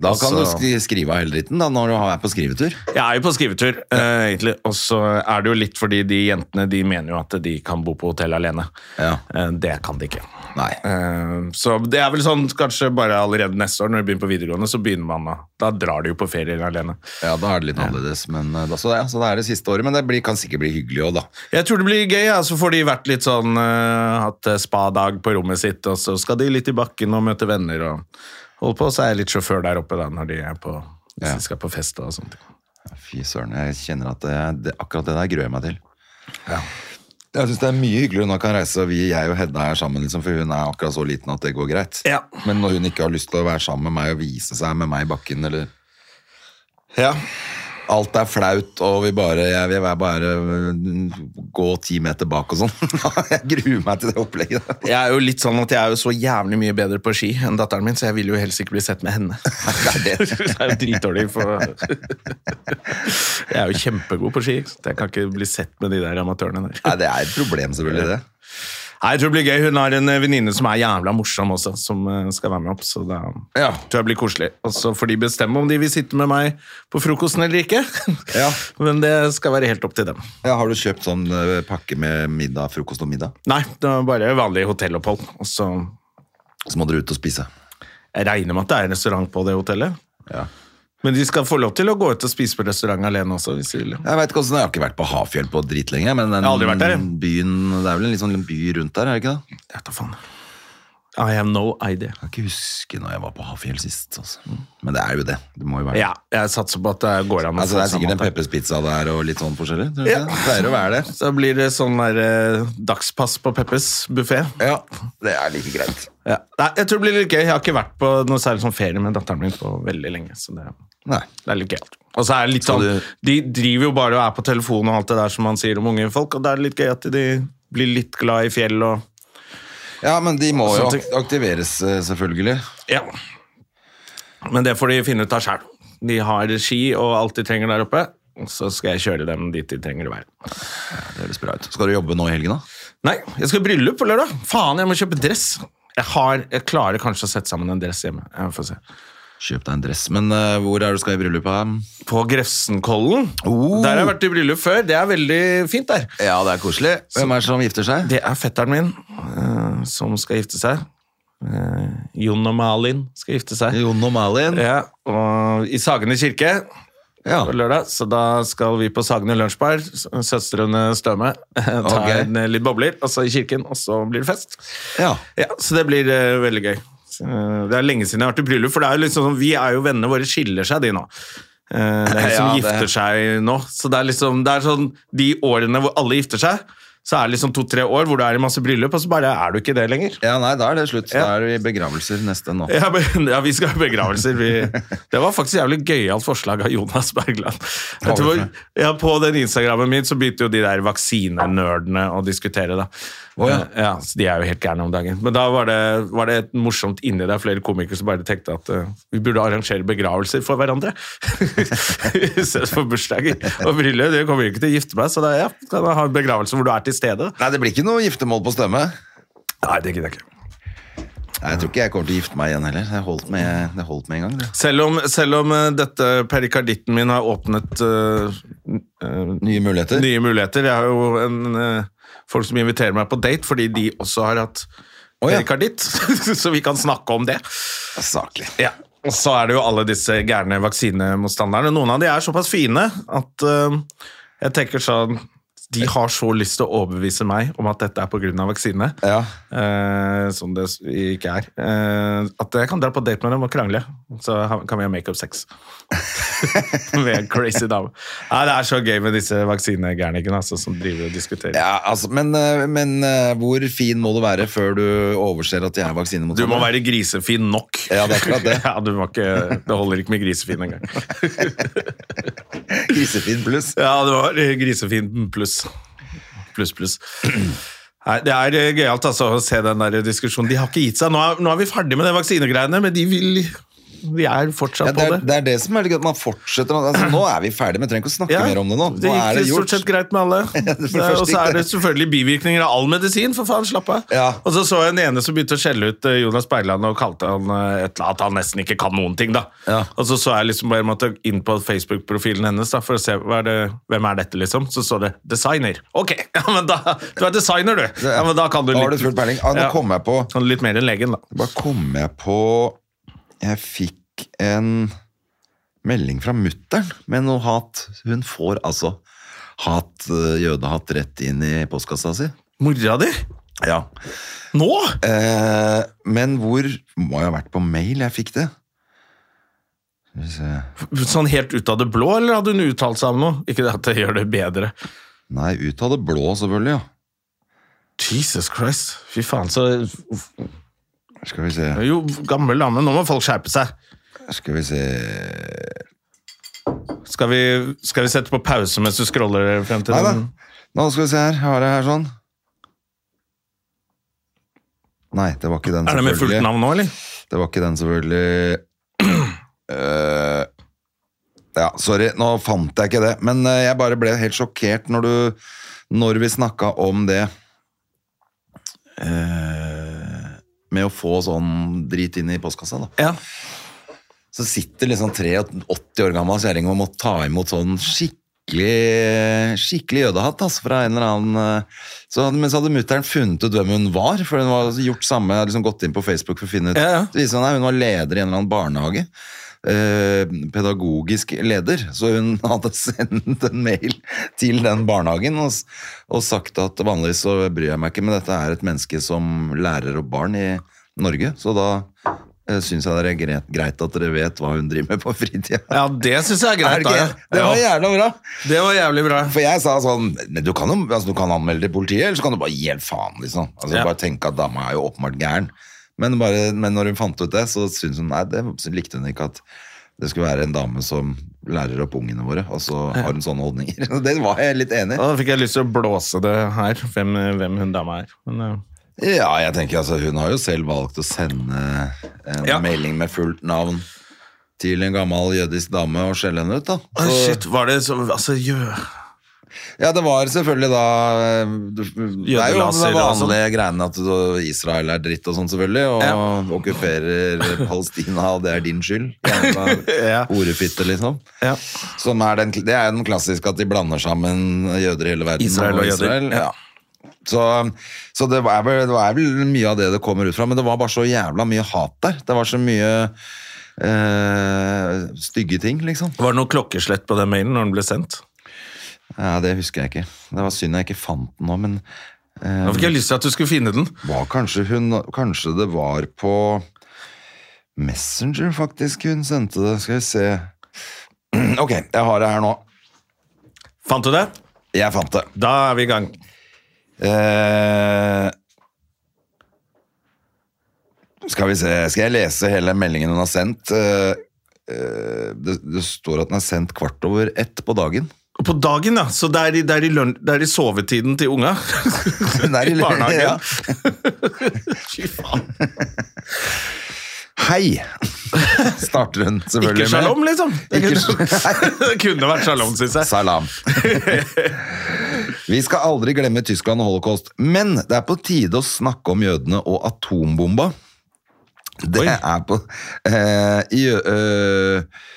Speaker 2: Da
Speaker 1: Og
Speaker 2: kan
Speaker 1: så-
Speaker 2: du skri skrive av hele dritten da, når du er på skrivetur.
Speaker 1: Jeg er jo på skrivetur, eh, egentlig. Og så er det jo litt fordi de jentene de mener jo at de kan bo på hotell alene.
Speaker 2: Ja.
Speaker 1: Eh, det kan de ikke.
Speaker 2: Nei.
Speaker 1: Eh, så det er vel sånn kanskje bare allerede neste år, når de begynner på videregående, så begynner man da. Da drar de jo på ferie alene.
Speaker 2: Ja, da er det litt annerledes. Men, eh, da, så, det, så det er det siste året, men det blir, kan sikkert bli hyggelig òg, da.
Speaker 1: Jeg tror det blir gøy, ja. så får de vært litt sånn eh, hatt eh, spadag på rommet sitt, og så skal de litt i bakken og møte venner og holde på, og så er jeg litt sjåfør der oppe da, når de er på, hvis
Speaker 2: Ja.
Speaker 1: de skal på fest og sånt.
Speaker 2: Fy søren, jeg kjenner at det, det, akkurat det der gruer jeg meg til. Jeg syns det er mye hyggeligere når hun kan reise, og vi, jeg og Hedda er sammen, liksom, for hun er akkurat så liten at det går greit.
Speaker 1: Ja.
Speaker 2: Men når hun ikke har lyst til å være sammen med meg og vise seg med meg i bakken, eller
Speaker 1: Ja.
Speaker 2: Alt er flaut, og vi bare, jeg vil være bare mm, gå ti meter bak og sånn. Jeg gruer meg til det opplegget. der.
Speaker 1: Jeg er jo litt sånn at jeg er jo så jævlig mye bedre på ski enn datteren min, så jeg vil jo helst ikke bli sett med henne.
Speaker 2: Det er det.
Speaker 1: Det er jo dritdårlig for Jeg er jo kjempegod på ski, ikke sant? jeg kan ikke bli sett med de der amatørene der.
Speaker 2: Nei, det er et problem, selvfølgelig, det.
Speaker 1: Nei, jeg tror det blir gøy. Hun har en eh, venninne som er jævla morsom også, som eh, skal være med opp. Så det
Speaker 2: Ja.
Speaker 1: tror jeg blir koselig. Og så får de bestemme om de vil sitte med meg på frokosten eller ikke.
Speaker 2: Ja.
Speaker 1: Men det skal være helt opp til dem.
Speaker 2: Ja, har du kjøpt sånn eh, pakke med middag, frokost og middag?
Speaker 1: Nei, det var bare vanlig hotellopphold. Og så
Speaker 2: Så må dere ut og spise.
Speaker 1: jeg regner med at det er en restaurant på det hotellet.
Speaker 2: Ja.
Speaker 1: Men de skal få lov til å gå ut og spise på restaurant alene også, hvis de vil.
Speaker 2: Jeg vet ikke hvordan, jeg har ikke vært på Hafjell på drit lenge, men den
Speaker 1: Jeg har aldri vært der, jeg.
Speaker 2: byen, det er vel en litt sånn by rundt der, er det ikke det?
Speaker 1: Jeg vet da faen. I have no idea.
Speaker 2: Jeg kan ikke huske når jeg var på Hafjell sist, altså. Men det er jo det, det må jo være det.
Speaker 1: Ja, jeg satser på at det går an å
Speaker 2: Altså, det er
Speaker 1: sammen
Speaker 2: sikkert en
Speaker 1: der.
Speaker 2: pepperspizza der og litt sånn forskjellig, tror du
Speaker 1: Ja.
Speaker 2: ikke? det? Pleier å være det.
Speaker 1: Så blir det sånn der eh, dagspass på Peppes buffé.
Speaker 2: Ja, det er like greit.
Speaker 1: Ja. Nei, jeg tror det blir litt gøy. Jeg har ikke vært på noe særlig sånn ferie med datteren min på veldig lenge. Så det,
Speaker 2: Nei.
Speaker 1: det er litt gøyalt. Og så er det litt
Speaker 2: Skal
Speaker 1: sånn,
Speaker 2: du-
Speaker 1: De driver jo bare og er på telefonen og alt det der som man sier om unge folk, og det er litt gøy at de blir litt glad i fjell og
Speaker 2: Ja, men de må jo
Speaker 1: Sånn ting.
Speaker 2: ak- aktiveres, eh, selvfølgelig.
Speaker 1: Ja. Men det får de finne ut av sjæl. De har ski og alt de trenger der oppe. og Så skal jeg kjøre dem dit de trenger å være.
Speaker 2: Det høres bra ut. Skal du jobbe nå i helgen, da?
Speaker 1: Nei, jeg skal i bryllup på lørdag. Faen, jeg må kjøpe dress. Jeg, har, jeg klarer kanskje å sette sammen en dress hjemme. Jeg får se.
Speaker 2: Kjøp deg en dress. Men eh, hvor er du skal i bryllupet?
Speaker 1: På Grefsenkollen.
Speaker 2: Oh.
Speaker 1: Der har jeg vært i bryllup før. Det er veldig fint der.
Speaker 2: Ja, det er koselig. Hvem er det som gifter seg?
Speaker 1: Det er fetteren min eh, som skal gifte seg. Eh, Jon og Malin skal gifte seg.
Speaker 2: Jon og Malin.
Speaker 1: Ja, og I Sagene kirke
Speaker 2: Ja.
Speaker 1: på lørdag, så da skal vi på Sagene lunsjbar. s- Søstrene Støme ta
Speaker 2: Ok.
Speaker 1: en, eh, litt bobler, og så i kirken, og så blir det fest.
Speaker 2: ja.
Speaker 1: Ja, Så det blir eh, veldig gøy. Så, eh, det er lenge siden jeg har vært i bryllup, for det er jo liksom sånn, vi er jo venner våre, skiller seg de nå. Eh, det er de som
Speaker 2: Ja, det-
Speaker 1: gifter seg nå. Så det er liksom det er sånn de årene hvor alle gifter seg, så er det liksom to-tre år hvor du er i masse bryllup, og så bare er du ikke det lenger.
Speaker 2: Ja, nei, da er det slutt. Da
Speaker 1: Ja.
Speaker 2: er du i begravelser neste nå.
Speaker 1: Ja, men, ja, vi skal ha begravelser. Vi, det var faktisk jævlig gøyalt forslag av Jonas Bergland. Jeg tror, ja, på den Instagrammen min så begynte jo de der vaksinenerdene å diskutere, da.
Speaker 2: Å, ja.
Speaker 1: Eh, så De er jo helt gærne om dagen. Men da var det, var det et morsomt inni der flere komikere som bare tenkte at eh, vi burde arrangere begravelser for hverandre. I stedet for bursdager og bryllup. Det kommer jo ikke til å gifte meg, så da ja, kan jeg ha en begravelse hvor du er til stede.
Speaker 2: Nei, det blir ikke noe giftermål på stemme.
Speaker 1: Nei, det gidder jeg ikke.
Speaker 2: Nei, jeg tror ikke jeg kommer til å gifte meg igjen heller. Det holdt med, det holdt med en gang. Det.
Speaker 1: Selv om, selv om eh, dette perikarditten min har åpnet eh, n- eh,
Speaker 2: Nye muligheter.
Speaker 1: nye muligheter Jeg har jo en, eh, folk som inviterer meg på date fordi de også har hatt
Speaker 2: Å, ja.
Speaker 1: perikarditt, så vi kan snakke om det.
Speaker 2: Saklig.
Speaker 1: Ja. Og så er det jo alle disse gærne vaksinemotstanderne. Noen av de er såpass fine at eh, jeg tenker sånn De har så lyst til å overbevise meg om at dette er pga. vaksine.
Speaker 2: Ja.
Speaker 1: Eh, som det s- ikke er. Eh, at jeg kan dra på date med dem og krangle, så ha- kan vi ha makeup-sex. med en crazy dame. Nei, det er så gøy med disse vaksinegærningene altså, som driver og diskuterer.
Speaker 2: Ja, altså, men, eh, men eh, hvor fin må du være før du overser at jeg er
Speaker 1: Du må
Speaker 2: vaksinemotstander?
Speaker 1: være grisefin nok.
Speaker 2: Ja, det er akkurat det.
Speaker 1: ja, du må ikke, det holder ikke med grisefin engang.
Speaker 2: Grisefin pluss.
Speaker 1: Ja, det var eh, grisefin pluss. Pluss, pluss. Nei, Det er eh, gøyalt altså, å se den der diskusjonen. De har ikke gitt seg. Nå er, nå er vi ferdig med de vaksinegreiene, men de vil De er fortsatt
Speaker 2: Ja, det, er,
Speaker 1: på det.
Speaker 2: det er det som er litt gøy, at man fortsetter. Altså, nå er vi ferdige, vi trenger ikke å snakke
Speaker 1: Ja,
Speaker 2: mer om det nå.
Speaker 1: Det
Speaker 2: Nå er
Speaker 1: gikk
Speaker 2: det
Speaker 1: stort
Speaker 2: gjort.
Speaker 1: sett greit med alle.
Speaker 2: det
Speaker 1: Det
Speaker 2: første
Speaker 1: er- Og så
Speaker 2: gikk
Speaker 1: er
Speaker 2: det.
Speaker 1: det selvfølgelig bivirkninger av all medisin, for faen, slapp av.
Speaker 2: Ja.
Speaker 1: Og så så jeg en ene som begynte å skjelle ut eh, Jonas Bergland og kalte han eh, et eller annet, at han nesten ikke kan noen ting, da.
Speaker 2: Ja.
Speaker 1: Og så så jeg liksom bare måtte inn på Facebook-profilen hennes da, for å se hva er det, hvem er dette, liksom. Så så det 'designer'. Ok, ja, men da, du er designer, du. Ja, men da kan du
Speaker 2: Da har du full peiling. Ah, nå
Speaker 1: Ja.
Speaker 2: kom jeg på
Speaker 1: Sånn Litt mer enn legen, da.
Speaker 2: Da kom jeg på Jeg fikk en melding fra mutteren med noe hat. Hun får altså hat, eh, jødehat rett inn i postkassa si.
Speaker 1: Mora di?
Speaker 2: Ja.
Speaker 1: Nå?
Speaker 2: Eh, men hvor Må jeg ha vært på mail jeg fikk det? Skal vi se.
Speaker 1: Sånn helt ut av det blå, eller hadde hun uttalt seg om noe? Ikke det at det gjør det bedre.
Speaker 2: Nei, ut av det blå, selvfølgelig. Ja.
Speaker 1: Jesus Christ. Fy faen, så
Speaker 2: Skal vi se
Speaker 1: Jo, gammel dame. Nå må folk skjerpe seg.
Speaker 2: Skal vi se
Speaker 1: Skal vi, skal vi sette på pause mens du scroller frem til
Speaker 2: Nei da.
Speaker 1: den?
Speaker 2: Nå skal vi se her. Har jeg her sånn? Nei, det var ikke den,
Speaker 1: Er det med fullt
Speaker 2: selvfølgelig.
Speaker 1: navn nå, eller?
Speaker 2: Det var ikke den, selvfølgelig. Eh, ja, sorry, nå fant jeg ikke det. Men eh, jeg bare ble helt sjokkert når, du, når vi snakka om det eh, med å få sånn drit inn i postkassa. da.
Speaker 1: Ja.
Speaker 2: Så sitter liksom 83 år gammel kjerring og må ta imot sånn skikkelig skikkelig jødehatt altså, fra en eller annen eh, så hadde, Men så hadde mutter'n funnet ut hvem hun var, for hun var gjort samme, hadde liksom gått inn på Facebook for å finne ut.
Speaker 1: Ja, ja.
Speaker 2: Så viste det seg at Hun var leder i en eller annen barnehage. eh, pedagogisk leder, så hun hadde sendt en mail til den barnehagen og, s- og sagt at vanligvis så bryr jeg meg ikke, men dette er et menneske som lærer opp barn i Norge, så da uh, syns jeg det er greit, greit at dere vet hva hun driver med på fritida.
Speaker 1: ja, det syns jeg er greit.
Speaker 2: Er det,
Speaker 1: da,
Speaker 2: ikke? det var
Speaker 1: ja.
Speaker 2: jævla bra!
Speaker 1: det var jævlig bra.
Speaker 2: For jeg sa sånn men Du kan, jo, altså, du kan anmelde til politiet, eller så kan du bare gi helt faen, liksom. Altså,
Speaker 1: Ja.
Speaker 2: Bare tenke at dama er jo åpenbart gæren. Men, bare, men når hun fant ut det, så syntes hun Nei, det så likte hun ikke at det skulle være en dame som lærer opp ungene våre, og så har hun sånne holdninger. Så Det var jeg litt enig i.
Speaker 1: Da fikk jeg lyst til å blåse det her, hvem, hvem hun dama er. Men, eh,
Speaker 2: Ja, jeg tenker altså Hun har jo selv valgt å sende en
Speaker 1: Ja.
Speaker 2: melding med fullt navn til en gammel jødisk dame og skjelle henne ut, da.
Speaker 1: Å,
Speaker 2: Så-
Speaker 1: shit, var det så Altså, jø.
Speaker 2: Ja, det var selvfølgelig da eh, Det det er jo de
Speaker 1: Jødelaser og sånn.
Speaker 2: vanlige greiene at du- Israel er dritt og sånn, selvfølgelig, og
Speaker 1: Ja.
Speaker 2: okkuperer Palestina, og det er din skyld. Jævla
Speaker 1: Ja.
Speaker 2: Horefitte, liksom.
Speaker 1: Ja.
Speaker 2: Som er den, det er den klassiske at de blander sammen jøder i hele verden
Speaker 1: Israel og jøder, ja.
Speaker 2: Ja. Så, så det, er vel, det er vel mye av det det kommer ut fra, men det var bare så jævla mye hat der. Det var så mye eh, stygge ting, liksom.
Speaker 1: Var det noe klokkeslett på den mailen når den ble sendt?
Speaker 2: Ja, det husker jeg ikke. Det var synd jeg ikke fant den nå, men
Speaker 1: Da fikk jeg lyst til at du skulle finne den.
Speaker 2: var kanskje hun Kanskje det var på Messenger, faktisk, hun sendte det. Skal vi se Ok, jeg har det her nå.
Speaker 1: Fant du det?
Speaker 2: Jeg fant det.
Speaker 1: Da er vi i gang.
Speaker 2: Eh, skal vi se Skal jeg lese hele meldingen hun har sendt? Eh, eh, det, det står at den er sendt kvart over ett på dagen.
Speaker 1: Og På dagen, ja. Så det er i, det er i, lønn- det er i sovetiden til unga.
Speaker 2: Den er
Speaker 1: I barnehagen.
Speaker 2: ja.
Speaker 1: Fy faen.
Speaker 2: Hei! Starter hun selvfølgelig
Speaker 1: Ikke shalom, liksom. Det
Speaker 2: Ikke
Speaker 1: kunne, det kunne vært shalom, syns jeg.
Speaker 2: Salam. Vi skal aldri glemme Tyskland og holocaust, men det er på tide å snakke om jødene og atombomba. Det
Speaker 1: Oi.
Speaker 2: er på eh, jø, eh,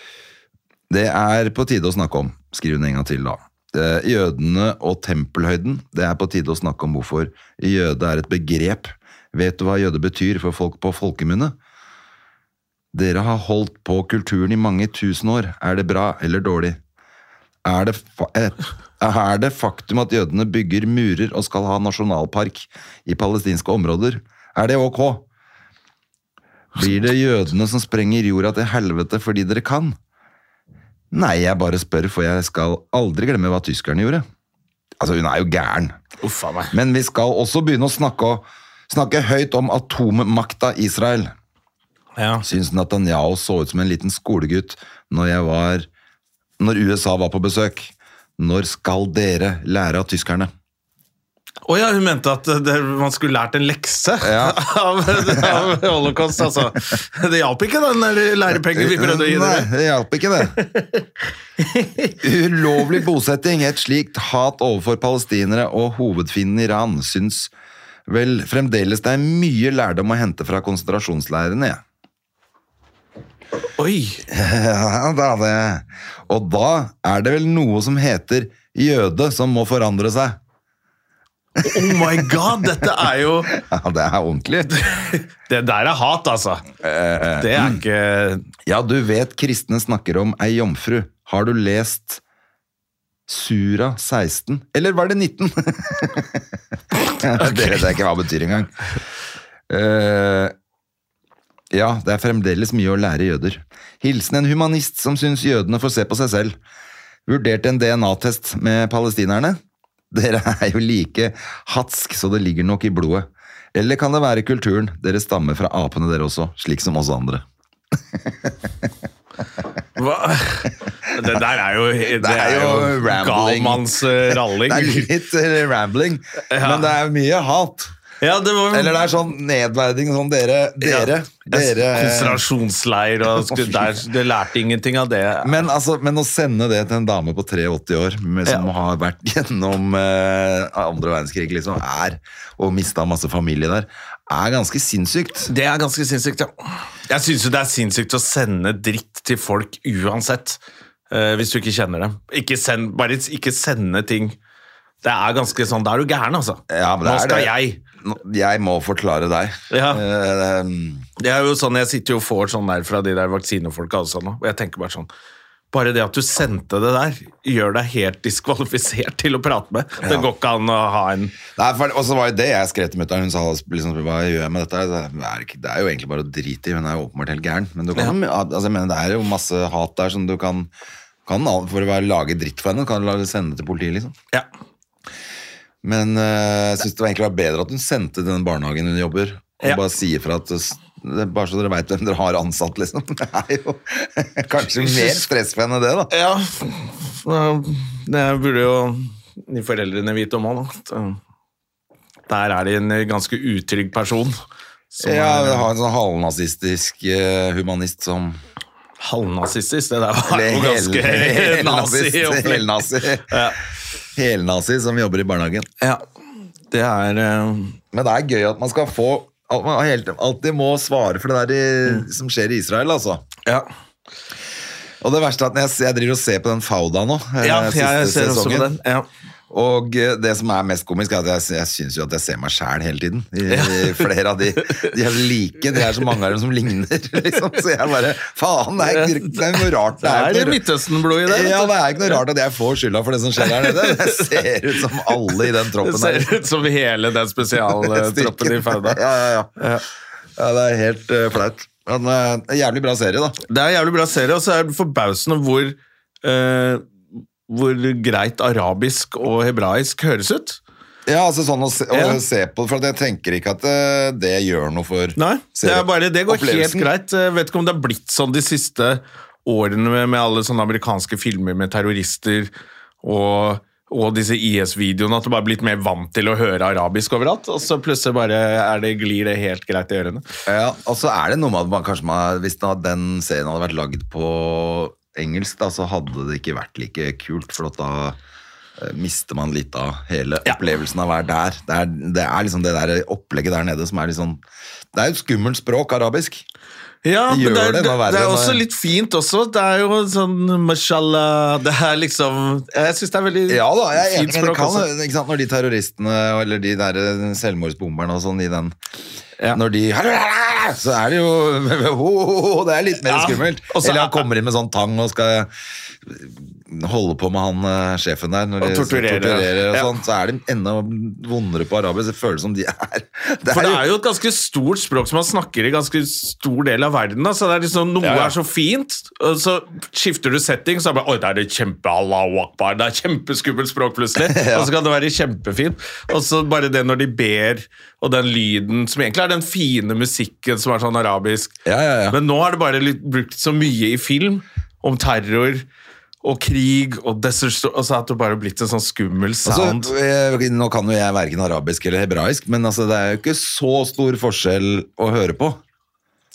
Speaker 2: Det er på tide å snakke om. Skriv den en gang til, da. Eh, jødene og tempelhøyden. Det er på tide å snakke om hvorfor jøde er et begrep. Vet du hva jøde betyr for folk på folkemunne? Dere har holdt på kulturen i mange tusen år. Er det bra eller dårlig? er det, fa- eh, er det faktum at jødene bygger murer og skal ha nasjonalpark i palestinske områder? Er det ok? Blir det jødene som sprenger jorda til helvete fordi dere kan? Nei, jeg bare spør, for jeg skal aldri glemme hva tyskerne gjorde. Altså, hun er jo gæren.
Speaker 1: Uff a meg.
Speaker 2: Men vi skal også begynne å snakke, snakke høyt om atommakta Israel
Speaker 1: Ja.
Speaker 2: syns Netanyahu så ut som en liten skolegutt når jeg var når USA var på besøk. Når skal dere lære av tyskerne?
Speaker 1: Å ja, hun mente at det, man skulle lært en lekse
Speaker 2: Ja.
Speaker 1: av, av holocaust, altså. Det hjalp ikke, den der lærepengen vi prøvde å gi
Speaker 2: Nei,
Speaker 1: dere.
Speaker 2: det hjalp ikke det. Ulovlig bosetting, et slikt hat overfor palestinere og hovedfienden Iran syns vel fremdeles det er mye lærdom å hente fra konsentrasjonsleirene. Ja.
Speaker 1: Oi.
Speaker 2: Ja, da det. Og da er det vel noe som heter jøde som må forandre seg.
Speaker 1: Oh my god, dette er jo
Speaker 2: Ja, det er ordentlig.
Speaker 1: Det der er hat, altså. Det er ikke
Speaker 2: Ja, du vet kristne snakker om ei jomfru. Har du lest Sura 16? Eller var det 19? Det vet jeg ikke hva betyr engang. Eh, ja, det er fremdeles mye å lære jøder. Hilsen en humanist som syns jødene får se på seg selv. Vurderte en DNA-test med palestinerne. Dere er jo like hatsk, så det ligger nok i blodet. Eller kan det være kulturen? Dere stammer fra apene, dere også, slik som oss andre.
Speaker 1: Hva? Det der er jo Det er jo
Speaker 2: rambling.
Speaker 1: galmanns eh, ralling.
Speaker 2: Det er litt eh, rambling, men det er mye hat.
Speaker 1: Ja, det var
Speaker 2: Eller det er sånn nedverding, sånn dere, dere, Dere eh,
Speaker 1: Konsentrasjonsleir og sku- der, Du lærte ingenting av det.
Speaker 2: men, altså, men å sende det til en dame på 83 år med, som har vært gjennom eh, andre verdenskrig liksom, er, og mista masse familie der, er ganske sinnssykt.
Speaker 1: Det er ganske sinnssykt, ja. Jeg syns jo det er sinnssykt å sende dritt til folk uansett. eh, hvis du ikke kjenner dem. Ikke send, bare ikke sende ting. Det er ganske sånn, Da er du gæren, altså.
Speaker 2: Ja, men det
Speaker 1: Nå
Speaker 2: er
Speaker 1: skal
Speaker 2: det.
Speaker 1: jeg.
Speaker 2: Nå- Jeg må forklare deg.
Speaker 1: Ja.
Speaker 2: Eh,
Speaker 1: Det er jo sånn, Jeg sitter jo og får sånn der fra de der vaksinefolka også nå, og jeg tenker bare sånn Bare det at du sendte det der, gjør deg helt diskvalifisert til å prate med. Det går ikke an å ha en
Speaker 2: Nei, for, og så var det det jeg skrev til mutter'n. Hun sa liksom, hva gjør jeg med dette? her? Det er, ikke- det er jo egentlig bare å drite i, hun er jo åpenbart helt gæren. Men du kan, altså, jeg mener, det er jo masse hat der som du kan, kan al- For å være- lage dritt for henne, kan du la- sende det til politiet, liksom.
Speaker 1: Ja.
Speaker 2: Men eh, jeg syns det var egentlig var bedre at hun sendte den barnehagen hun jobber, og
Speaker 1: Ja.
Speaker 2: bare sier fra at s- det er Bare så dere veit hvem dere har ansatt, liksom. Det er jo kanskje mer stress for henne, det, da.
Speaker 1: ja. Det burde jo de foreldrene vite om òg, da. Der er det en ganske utrygg person. Som
Speaker 2: Ja,
Speaker 1: er
Speaker 2: vi har en sånn halvnazistisk eh, humanist som
Speaker 1: halvnazistisk. Det der var
Speaker 2: Eller
Speaker 1: jo ganske
Speaker 2: hel-
Speaker 1: nazi.
Speaker 2: helnazist,
Speaker 1: opplegg.
Speaker 2: Helnazi.
Speaker 1: Ja.
Speaker 2: Helnazi som jobber i barnehagen.
Speaker 1: ja. Det er eh,
Speaker 2: Men det er gøy at man skal få at man helt, alltid må svare for det der i,
Speaker 1: Mm.
Speaker 2: som skjer i Israel, altså.
Speaker 1: Ja.
Speaker 2: Og det verste er at når jeg, jeg driver og ser på den Fauda nå. eh,
Speaker 1: ja,
Speaker 2: siste
Speaker 1: jeg ser også på
Speaker 2: sesongen.
Speaker 1: den. Ja.
Speaker 2: Og eh, det som er mest komisk, er at jeg, jeg syns jo at jeg ser meg sjæl hele tiden. I, i flere av de, de er like. Det er så mange av dem som ligner, liksom. Så jeg bare Faen, det er, det er noe rart.
Speaker 1: Det er
Speaker 2: ikke
Speaker 1: litt
Speaker 2: noe-
Speaker 1: Midtøsten-blod i det. vet
Speaker 2: Ja,
Speaker 1: du.
Speaker 2: det er ikke noe rart at jeg får skylda for det som skjer der nede. Det ser ut som alle i den
Speaker 1: Det
Speaker 2: troppen der.
Speaker 1: ser ut som hele den spesialtroppen i Fauda.
Speaker 2: Ja, ja, ja. ja, det er helt eh, flaut. Men eh, jævlig bra serie, da.
Speaker 1: Det er en jævlig bra serie, og så er det forbausende hvor eh, hvor greit arabisk og hebraisk høres ut.
Speaker 2: Ja, altså sånn å se, å
Speaker 1: Ja.
Speaker 2: se på, for jeg tenker ikke at eh, det gjør noe for
Speaker 1: Nei, det, er bare, det går helt
Speaker 2: opplevelsen.
Speaker 1: greit. Jeg vet ikke om det har blitt sånn de siste årene med, med alle sånne amerikanske filmer med terrorister og, og disse IS-videoene, at du bare har blitt mer vant til å høre arabisk overalt, og så plutselig bare er det, glir det helt greit i ørene.
Speaker 2: Ja, og så er det noe med at man kanskje man, hvis da den serien hadde vært lagd på engelsk, da, så hadde det ikke vært like kult, for at da eh, mister man litt av hele
Speaker 1: Ja.
Speaker 2: opplevelsen av å være der. Det er, det er liksom det der opplegget der nede som er litt sånn Det er jo et skummelt språk, arabisk.
Speaker 1: Ja, men
Speaker 2: Det
Speaker 1: det er,
Speaker 2: gjør det,
Speaker 1: det,
Speaker 2: det er verre
Speaker 1: er
Speaker 2: enn
Speaker 1: også
Speaker 2: å-
Speaker 1: litt fint også. Det er jo sånn mashallah Det er liksom Jeg syns det er veldig
Speaker 2: Ja da, jeg er enig,
Speaker 1: fint
Speaker 2: men det
Speaker 1: språk
Speaker 2: kan,
Speaker 1: også.
Speaker 2: ikke sant, når de terroristene eller de der eh, selvmordsbomberne og sånn i den
Speaker 1: Ja.
Speaker 2: Når de Så er det jo Det er litt mer
Speaker 1: Ja,
Speaker 2: skummelt.
Speaker 1: og så-
Speaker 2: Eller han kommer inn med sånn tang og skal holde på med han eh, sjefen der. Når
Speaker 1: Og
Speaker 2: de
Speaker 1: torturere.
Speaker 2: torturerer og
Speaker 1: Ja.
Speaker 2: sånn, så er det enda vondere på arabisk. Det føles som de er Det
Speaker 1: For
Speaker 2: er
Speaker 1: det
Speaker 2: jo
Speaker 1: er jo et ganske stort språk som man snakker i ganske stor del av verden. Da. Så det er liksom, Noe
Speaker 2: ja.
Speaker 1: er så fint, og så skifter du setting, så er det bare Oi, det er det kjempe Allahu akbar. Det er kjempeskummelt språk, plutselig. Og så kan det være kjempefint. Og så bare det når de ber, og den lyden som egentlig er den fine musikken som er sånn arabisk.
Speaker 2: Ja, ja, ja.
Speaker 1: Men nå er det bare litt, brukt så mye i film om terror. Og krig og desert, og så har det bare blitt en sånn skummel sound.
Speaker 2: Altså, eh, nå kan jo jeg verken arabisk eller hebraisk, men altså, det er jo ikke så stor forskjell å høre på.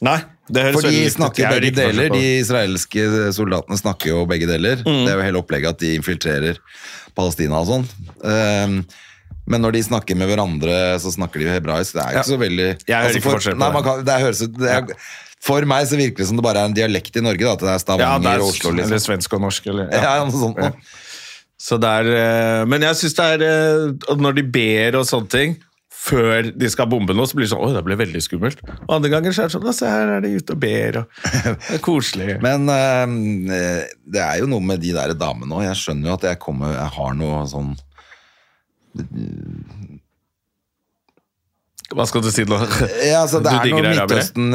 Speaker 1: Nei, det høres
Speaker 2: For
Speaker 1: veldig
Speaker 2: de
Speaker 1: likt ut. Jeg
Speaker 2: snakker
Speaker 1: er
Speaker 2: begge
Speaker 1: ikke forskjell
Speaker 2: deler.
Speaker 1: på Mm. det.
Speaker 2: De israelske soldatene snakker jo begge deler. Det er jo hele opplegget at de infiltrerer Palestina og sånn. Ehm, men når de snakker med hverandre, så snakker de jo hebraisk. Det er jo ikke så veldig Altså,
Speaker 1: Jeg hører ikke
Speaker 2: for,
Speaker 1: forskjell på
Speaker 2: nei,
Speaker 1: det.
Speaker 2: man kan, det høres ut det er, For meg så virker det som det bare er en dialekt i Norge. Da, at det er
Speaker 1: Ja, det
Speaker 2: Stavanger
Speaker 1: er
Speaker 2: og Oslo,
Speaker 1: eller
Speaker 2: liksom.
Speaker 1: svensk og norsk. Eller,
Speaker 2: Ja, noe sånt noe.
Speaker 1: Så det er, eh, men jeg syns det er eh, at Når de ber og sånne ting før de skal bombe noe, så blir det sånn Oi, det ble veldig skummelt. Og andre ganger så er det sånn «Ja, Se her er de ute og ber, og det er koselig.
Speaker 2: Men ehm, eh, det er jo noe med de der damene òg. Jeg skjønner jo at jeg, kommer, jeg har noe sånn
Speaker 1: Hva skal du si nå?
Speaker 2: Ja, altså, det
Speaker 1: Du
Speaker 2: er
Speaker 1: digger
Speaker 2: noe
Speaker 1: arabere?
Speaker 2: Midtøsten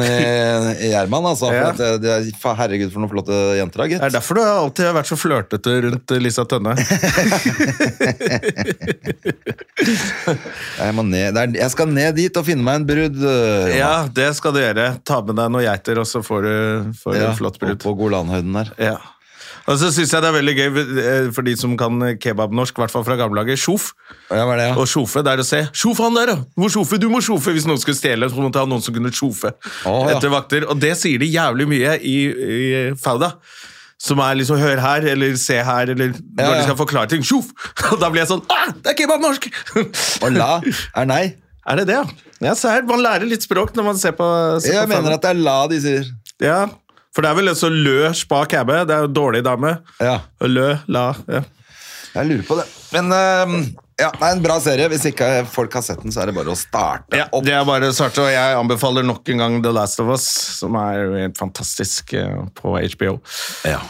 Speaker 2: i- i Gjerman, altså.
Speaker 1: Ja.
Speaker 2: For at det, det er, fa- herregud, for noen flotte jenter,
Speaker 1: Det
Speaker 2: da,
Speaker 1: er
Speaker 2: gitt.
Speaker 1: derfor du alltid har vært så flørtete rundt eh, Lisa Tønne.
Speaker 2: Jeg, må ned, det er, jeg skal ned dit og finne meg en brudd. øh, Jonas.
Speaker 1: Ja, det skal du gjøre. Ta med deg noen geiter, og så får du, får du
Speaker 2: Ja,
Speaker 1: en flott
Speaker 2: og
Speaker 1: brud.
Speaker 2: På Golanhøyden der.
Speaker 1: Ja. Og så syns jeg det er veldig gøy eh, for de som kan kebabnorsk, i hvert fall fra gamle dager, sjof.
Speaker 2: Ja, hva er det, ja?
Speaker 1: Og sjofe, det er å se. Sjof han der, ja! Du må sjofe, du må sjofe! Hvis noen skulle stjele, så måtte jeg ha noen som kunne sjofe
Speaker 2: Å, ja.
Speaker 1: etter vakter. Og det sier de jævlig mye i, i Fauda. Som er liksom 'hør her', eller 'se her', eller når
Speaker 2: Ja, ja.
Speaker 1: de skal forklare ting. Sjof! Og da blir jeg sånn ah, Det er kebabnorsk!
Speaker 2: Og la er nei.
Speaker 1: er det det, ja? ja? Se her, man lærer litt språk når man ser på, ser
Speaker 2: Jeg
Speaker 1: på Fauda.
Speaker 2: mener at det er la de sier.
Speaker 1: Ja, for det er vel en sånn lø spa cabbe. Det er jo en dårlig dame.
Speaker 2: Ja,
Speaker 1: Lø, la, ja.
Speaker 2: jeg lurer på det. Men ehm, ja, det er en bra serie. Hvis ikke folk har sett den, så er det bare å starte
Speaker 1: Ja,
Speaker 2: opp.
Speaker 1: det er bare svarte, og jeg anbefaler nok en gang The Last of Us, som er jo helt fantastisk eh, på HBO.
Speaker 2: Ja.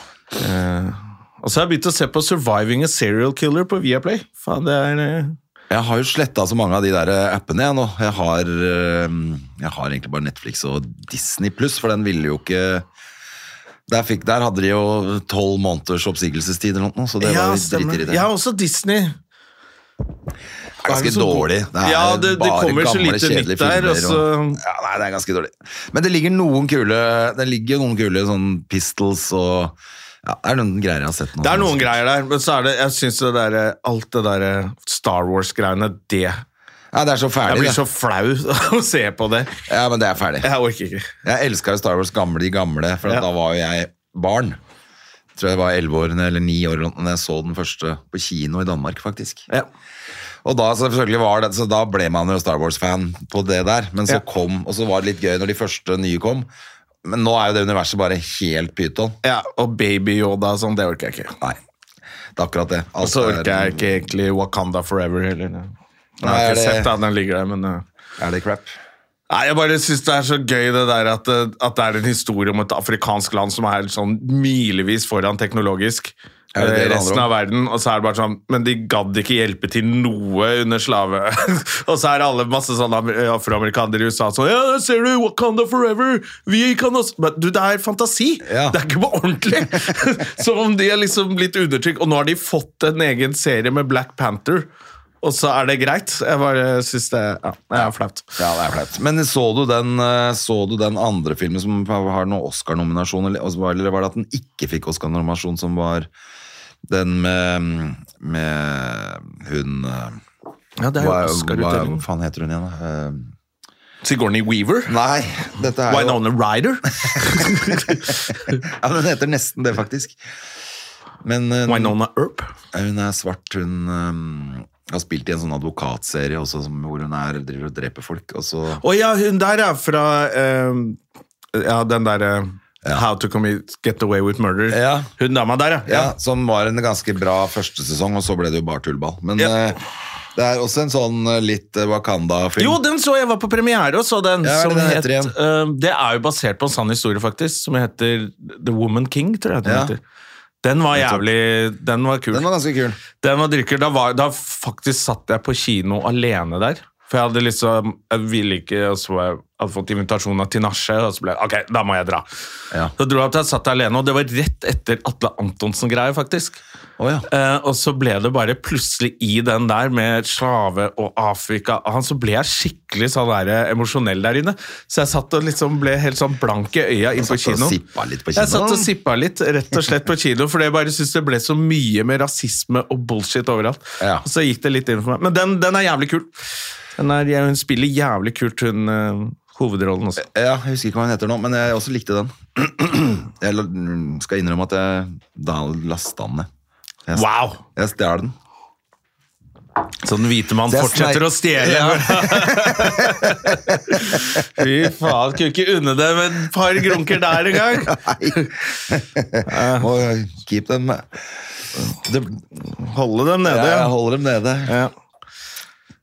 Speaker 1: Eh, og så har jeg begynt å se på Surviving a Serial Killer på Viaplay. Faen, det er... eh,
Speaker 2: Jeg har jo sletta så mange av de der eh, appene jeg nå. Jeg har, ehm, jeg har egentlig bare Netflix og Disney pluss, for den ville jo ikke der, fikk, der hadde de jo tolv måneders oppsigelsestid eller noe, så det var jo
Speaker 1: stemmer.
Speaker 2: driter i det.
Speaker 1: Jeg har også Disney.
Speaker 2: Det er ganske
Speaker 1: så god.
Speaker 2: dårlig. Det er
Speaker 1: Ja, det- det
Speaker 2: bare
Speaker 1: kommer så
Speaker 2: gamle,
Speaker 1: lite nytt
Speaker 2: kjedelige
Speaker 1: der, altså.
Speaker 2: filmer
Speaker 1: og
Speaker 2: ja, nei, det er ganske dårlig. Men det ligger noen kule Det ligger jo noen kule sånn Pistols og ja, Det er noen greier jeg har sett nå.
Speaker 1: Det er noen greier der, men så er det, jeg synes det der, eh, alt det der eh, Star Wars-greiene, det...
Speaker 2: Ja, det er så
Speaker 1: Jeg
Speaker 2: ferdig,
Speaker 1: blir
Speaker 2: det.
Speaker 1: så flau å se på det.
Speaker 2: Ja, men det er ferdig.
Speaker 1: Jeg orker ikke.
Speaker 2: Jeg elska jo Star Wars gamle, de gamle, for at
Speaker 1: Ja.
Speaker 2: da var jo jeg barn. Jeg tror jeg var elleve år eller ni år eller noe, når jeg så den første på kino i Danmark, faktisk.
Speaker 1: Ja.
Speaker 2: Og da selvfølgelig var det, så da ble man jo Star Wars-fan på det der, men så
Speaker 1: Ja.
Speaker 2: kom, og så var det litt gøy når de første nye kom. Men nå er jo det universet bare helt pyton.
Speaker 1: Ja, og Baby Yoda og sånn, det orker jeg ikke.
Speaker 2: Nei, det er akkurat det.
Speaker 1: Og så
Speaker 2: Alt
Speaker 1: orker jeg ikke egentlig Wakanda Forever heller. Nei, jeg
Speaker 2: Nei,
Speaker 1: har ikke
Speaker 2: er det-
Speaker 1: sett at den ligger der, men uh,
Speaker 2: Er det crap?
Speaker 1: Nei, jeg bare syns det er så gøy det der at, uh, at det er en historie om et afrikansk land som er sånn milevis foran teknologisk.
Speaker 2: Er det det
Speaker 1: eh,
Speaker 2: det
Speaker 1: resten
Speaker 2: handler om?
Speaker 1: av verden, og så er det bare sånn Men de gadd ikke hjelpe til noe under slave. og så er det alle masse sånne amer- eh, afroamerikanere i USA sånn Ja, der ser du! Wakanda forever! Vi kan også Men du, det er fantasi!
Speaker 2: Ja.
Speaker 1: Det er ikke på ordentlig! Som om de er liksom litt undertrykk. Og nå har de fått en egen serie med Black Panther, og så er det greit. Jeg bare syns det Ja, det er flaut.
Speaker 2: Ja, det er flaut. Men så du den, eh, så du den andre filmen som har noen Oscar-nominasjon, eller, altså, eller var det at den ikke fikk Oscar-nominasjon, som var den med, med hun eh,
Speaker 1: Ja, det er jo
Speaker 2: hva, hva,
Speaker 1: Oscar-utdeling.
Speaker 2: hva faen heter hun igjen? da? Eh,
Speaker 1: Sigourney Weaver?
Speaker 2: Nei, dette er jo
Speaker 1: Winona Ryder?
Speaker 2: ja, Den heter nesten det, faktisk. Men eh,
Speaker 1: Winona Earp?
Speaker 2: hun er svart. Hun eh, har spilt i en sånn advokatserie også, som, hvor hun er, driver og dreper folk. Og så
Speaker 1: Å ja, hun der er fra eh, Ja, den derre How to commit, Get Away with Murder.
Speaker 2: Ja.
Speaker 1: Hun dama der, ja.
Speaker 2: Ja, som var en ganske bra første sesong, og så ble det jo bare tullball. Men
Speaker 1: Ja.
Speaker 2: eh, det er også en sånn eh, litt eh, Wakanda-film.
Speaker 1: Jo, den så jeg var på premiere og så den.
Speaker 2: Ja, hva er det
Speaker 1: som
Speaker 2: den
Speaker 1: het,
Speaker 2: heter
Speaker 1: eh, det er jo basert på en sann historie, faktisk, som heter The Woman King, tror jeg den
Speaker 2: Ja.
Speaker 1: heter. Den var jævlig Den var kul.
Speaker 2: Den var ganske kul.
Speaker 1: Den var drikker. Da, var, da faktisk satt jeg på kino alene der. For jeg hadde liksom Jeg ville ikke Og så var jeg- hadde fått invitasjon av Tinashe, og så ble jeg Ok, da må jeg dra.
Speaker 2: Ja.
Speaker 1: Så dro jeg opp til jeg satt der alene, og det var rett etter Atle Antonsen-greia, faktisk.
Speaker 2: Å, ja.
Speaker 1: Eh, og så ble det bare plutselig i den der med slave og Afrika og han, Så ble jeg skikkelig sånn der, eh, emosjonell der inne. Så jeg satt og liksom ble helt sånn blank i øya inn på
Speaker 2: satt og
Speaker 1: kino.
Speaker 2: sippa litt på
Speaker 1: Jeg
Speaker 2: kino.
Speaker 1: satt og sippa litt, rett og slett på kino, for jeg bare syntes det ble så mye med rasisme og bullshit overalt.
Speaker 2: Ja.
Speaker 1: Og så gikk det litt inn for meg. Men den, den er jævlig kul. Den er, hun spiller jævlig kult, hun eh, hovedrollen også.
Speaker 2: Ja, jeg husker ikke hva den heter nå, men jeg også likte den. jeg la- mm, skal innrømme at jeg da lasta den ned. Jeg,
Speaker 1: Wow!
Speaker 2: jeg stjal den.
Speaker 1: Så den hvite mann
Speaker 2: Det er
Speaker 1: fortsetter
Speaker 2: sneik-
Speaker 1: å stjele. Fy faen, kunne ikke unne det med et par grunker der engang.
Speaker 2: Må eh, keep dem det,
Speaker 1: Holde dem nede.
Speaker 2: Jeg
Speaker 1: ja.
Speaker 2: holder dem nede.
Speaker 1: Ja.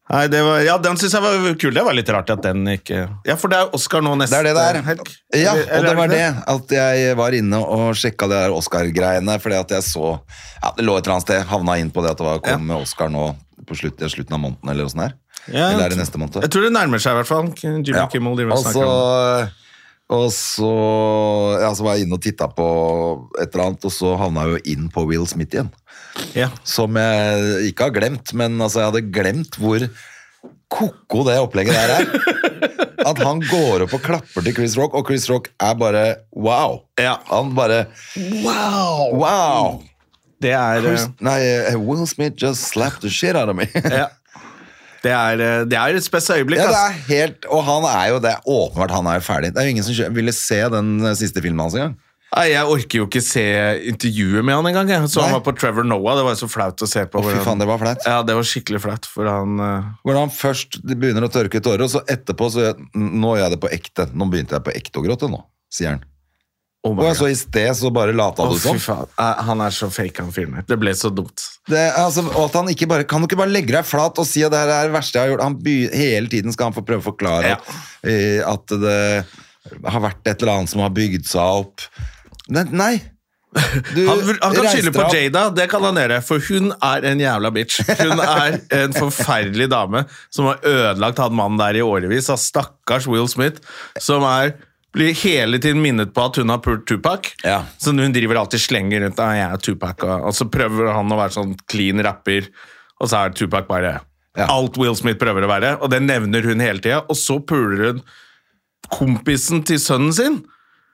Speaker 1: Nei, det var, ja, den syns jeg var kul. Det var litt rart at den ikke Ja, for det er Oscar nå neste
Speaker 2: Det er det der.
Speaker 1: Eh, helg.
Speaker 2: Ja,
Speaker 1: Eller- eller
Speaker 2: og det
Speaker 1: er
Speaker 2: var
Speaker 1: ikke
Speaker 2: det at jeg var inne og sjekka det der Oscar-greiene, fordi at jeg så ja, Det lå et eller annet sted, havna inn på det at det var
Speaker 1: Ja.
Speaker 2: kom med Oscar nå på slutt, i slutten av måneden, eller åssen det er.
Speaker 1: Ja,
Speaker 2: eller er det
Speaker 1: jeg-
Speaker 2: neste måned?
Speaker 1: Jeg tror det nærmer seg, i hvert fall. Jimmy Kimmel driver og
Speaker 2: og så
Speaker 1: snakker om det.
Speaker 2: og så, ja, så var jeg inne og titta på et eller annet, og så havna jeg jo inn på Will Smith igjen.
Speaker 1: Ja.
Speaker 2: Som jeg ikke har glemt, men altså, jeg hadde glemt hvor ko-ko det opplegget der er. At han går opp og klapper til Chris Rock, og Chris Rock er bare wow.
Speaker 1: Ja.
Speaker 2: Han bare Wow! Wow!
Speaker 1: Det er, eh,
Speaker 2: Nei, eh, Will Smith just slapped the shit out of me.
Speaker 1: ja. det er, eh, det er et spes øyeblikk.
Speaker 2: Ja, det
Speaker 1: ass.
Speaker 2: er helt, og han er jo det er åpenbart han er ferdig. Det er jo ingen som kjø- ville se den eh, siste filmen hans engang.
Speaker 1: Nei, Jeg orker jo ikke se intervjuet med han engang. jeg. Så han
Speaker 2: Nei.
Speaker 1: var på Trevor Noah. Det var jo så flaut å se på.
Speaker 2: Å, fy
Speaker 1: hvordan-
Speaker 2: faen, det var flaut.
Speaker 1: Ja, det var skikkelig flaut, for han eh,
Speaker 2: Hvordan han først begynner å tørke tårer, og så etterpå så gjør- Nå gjør jeg det på ekte. Nå begynte jeg på ekte å gråte, nå, sier han.
Speaker 1: Oh my
Speaker 2: Og
Speaker 1: god.
Speaker 2: så sånn. i sted så bare lata
Speaker 1: Å,
Speaker 2: du
Speaker 1: fy
Speaker 2: som.
Speaker 1: faen. Eh, Han er så fake, han fyren der. Det ble så dumt.
Speaker 2: Det, altså, og at han ikke bare, kan du ikke bare legge deg flat og si at det her er det verste jeg har gjort? Han by, hele tiden skal han få prøve å forklare
Speaker 1: Ja.
Speaker 2: at, eh, at det har vært et eller annet som har bygd seg opp. Men nei! Du
Speaker 1: Han, han kan
Speaker 2: reiste
Speaker 1: skylde
Speaker 2: deg
Speaker 1: på
Speaker 2: opp.
Speaker 1: Jada, det kan han gjøre, for hun er en jævla bitch. Hun er en forferdelig dame som har ødelagt han mannen der i årevis. Av stakkars Will Smith, som er blir hele tiden minnet på at hun har pult Tupac.
Speaker 2: Ja.
Speaker 1: Så hun driver alltid slenger rundt «Nei, jeg er Tupac, og, og så prøver han å være sånn clean rapper, og så er Tupac bare
Speaker 2: Ja.
Speaker 1: alt Will Smith prøver å være, og det nevner hun hele tida. Og så puler hun kompisen til sønnen sin.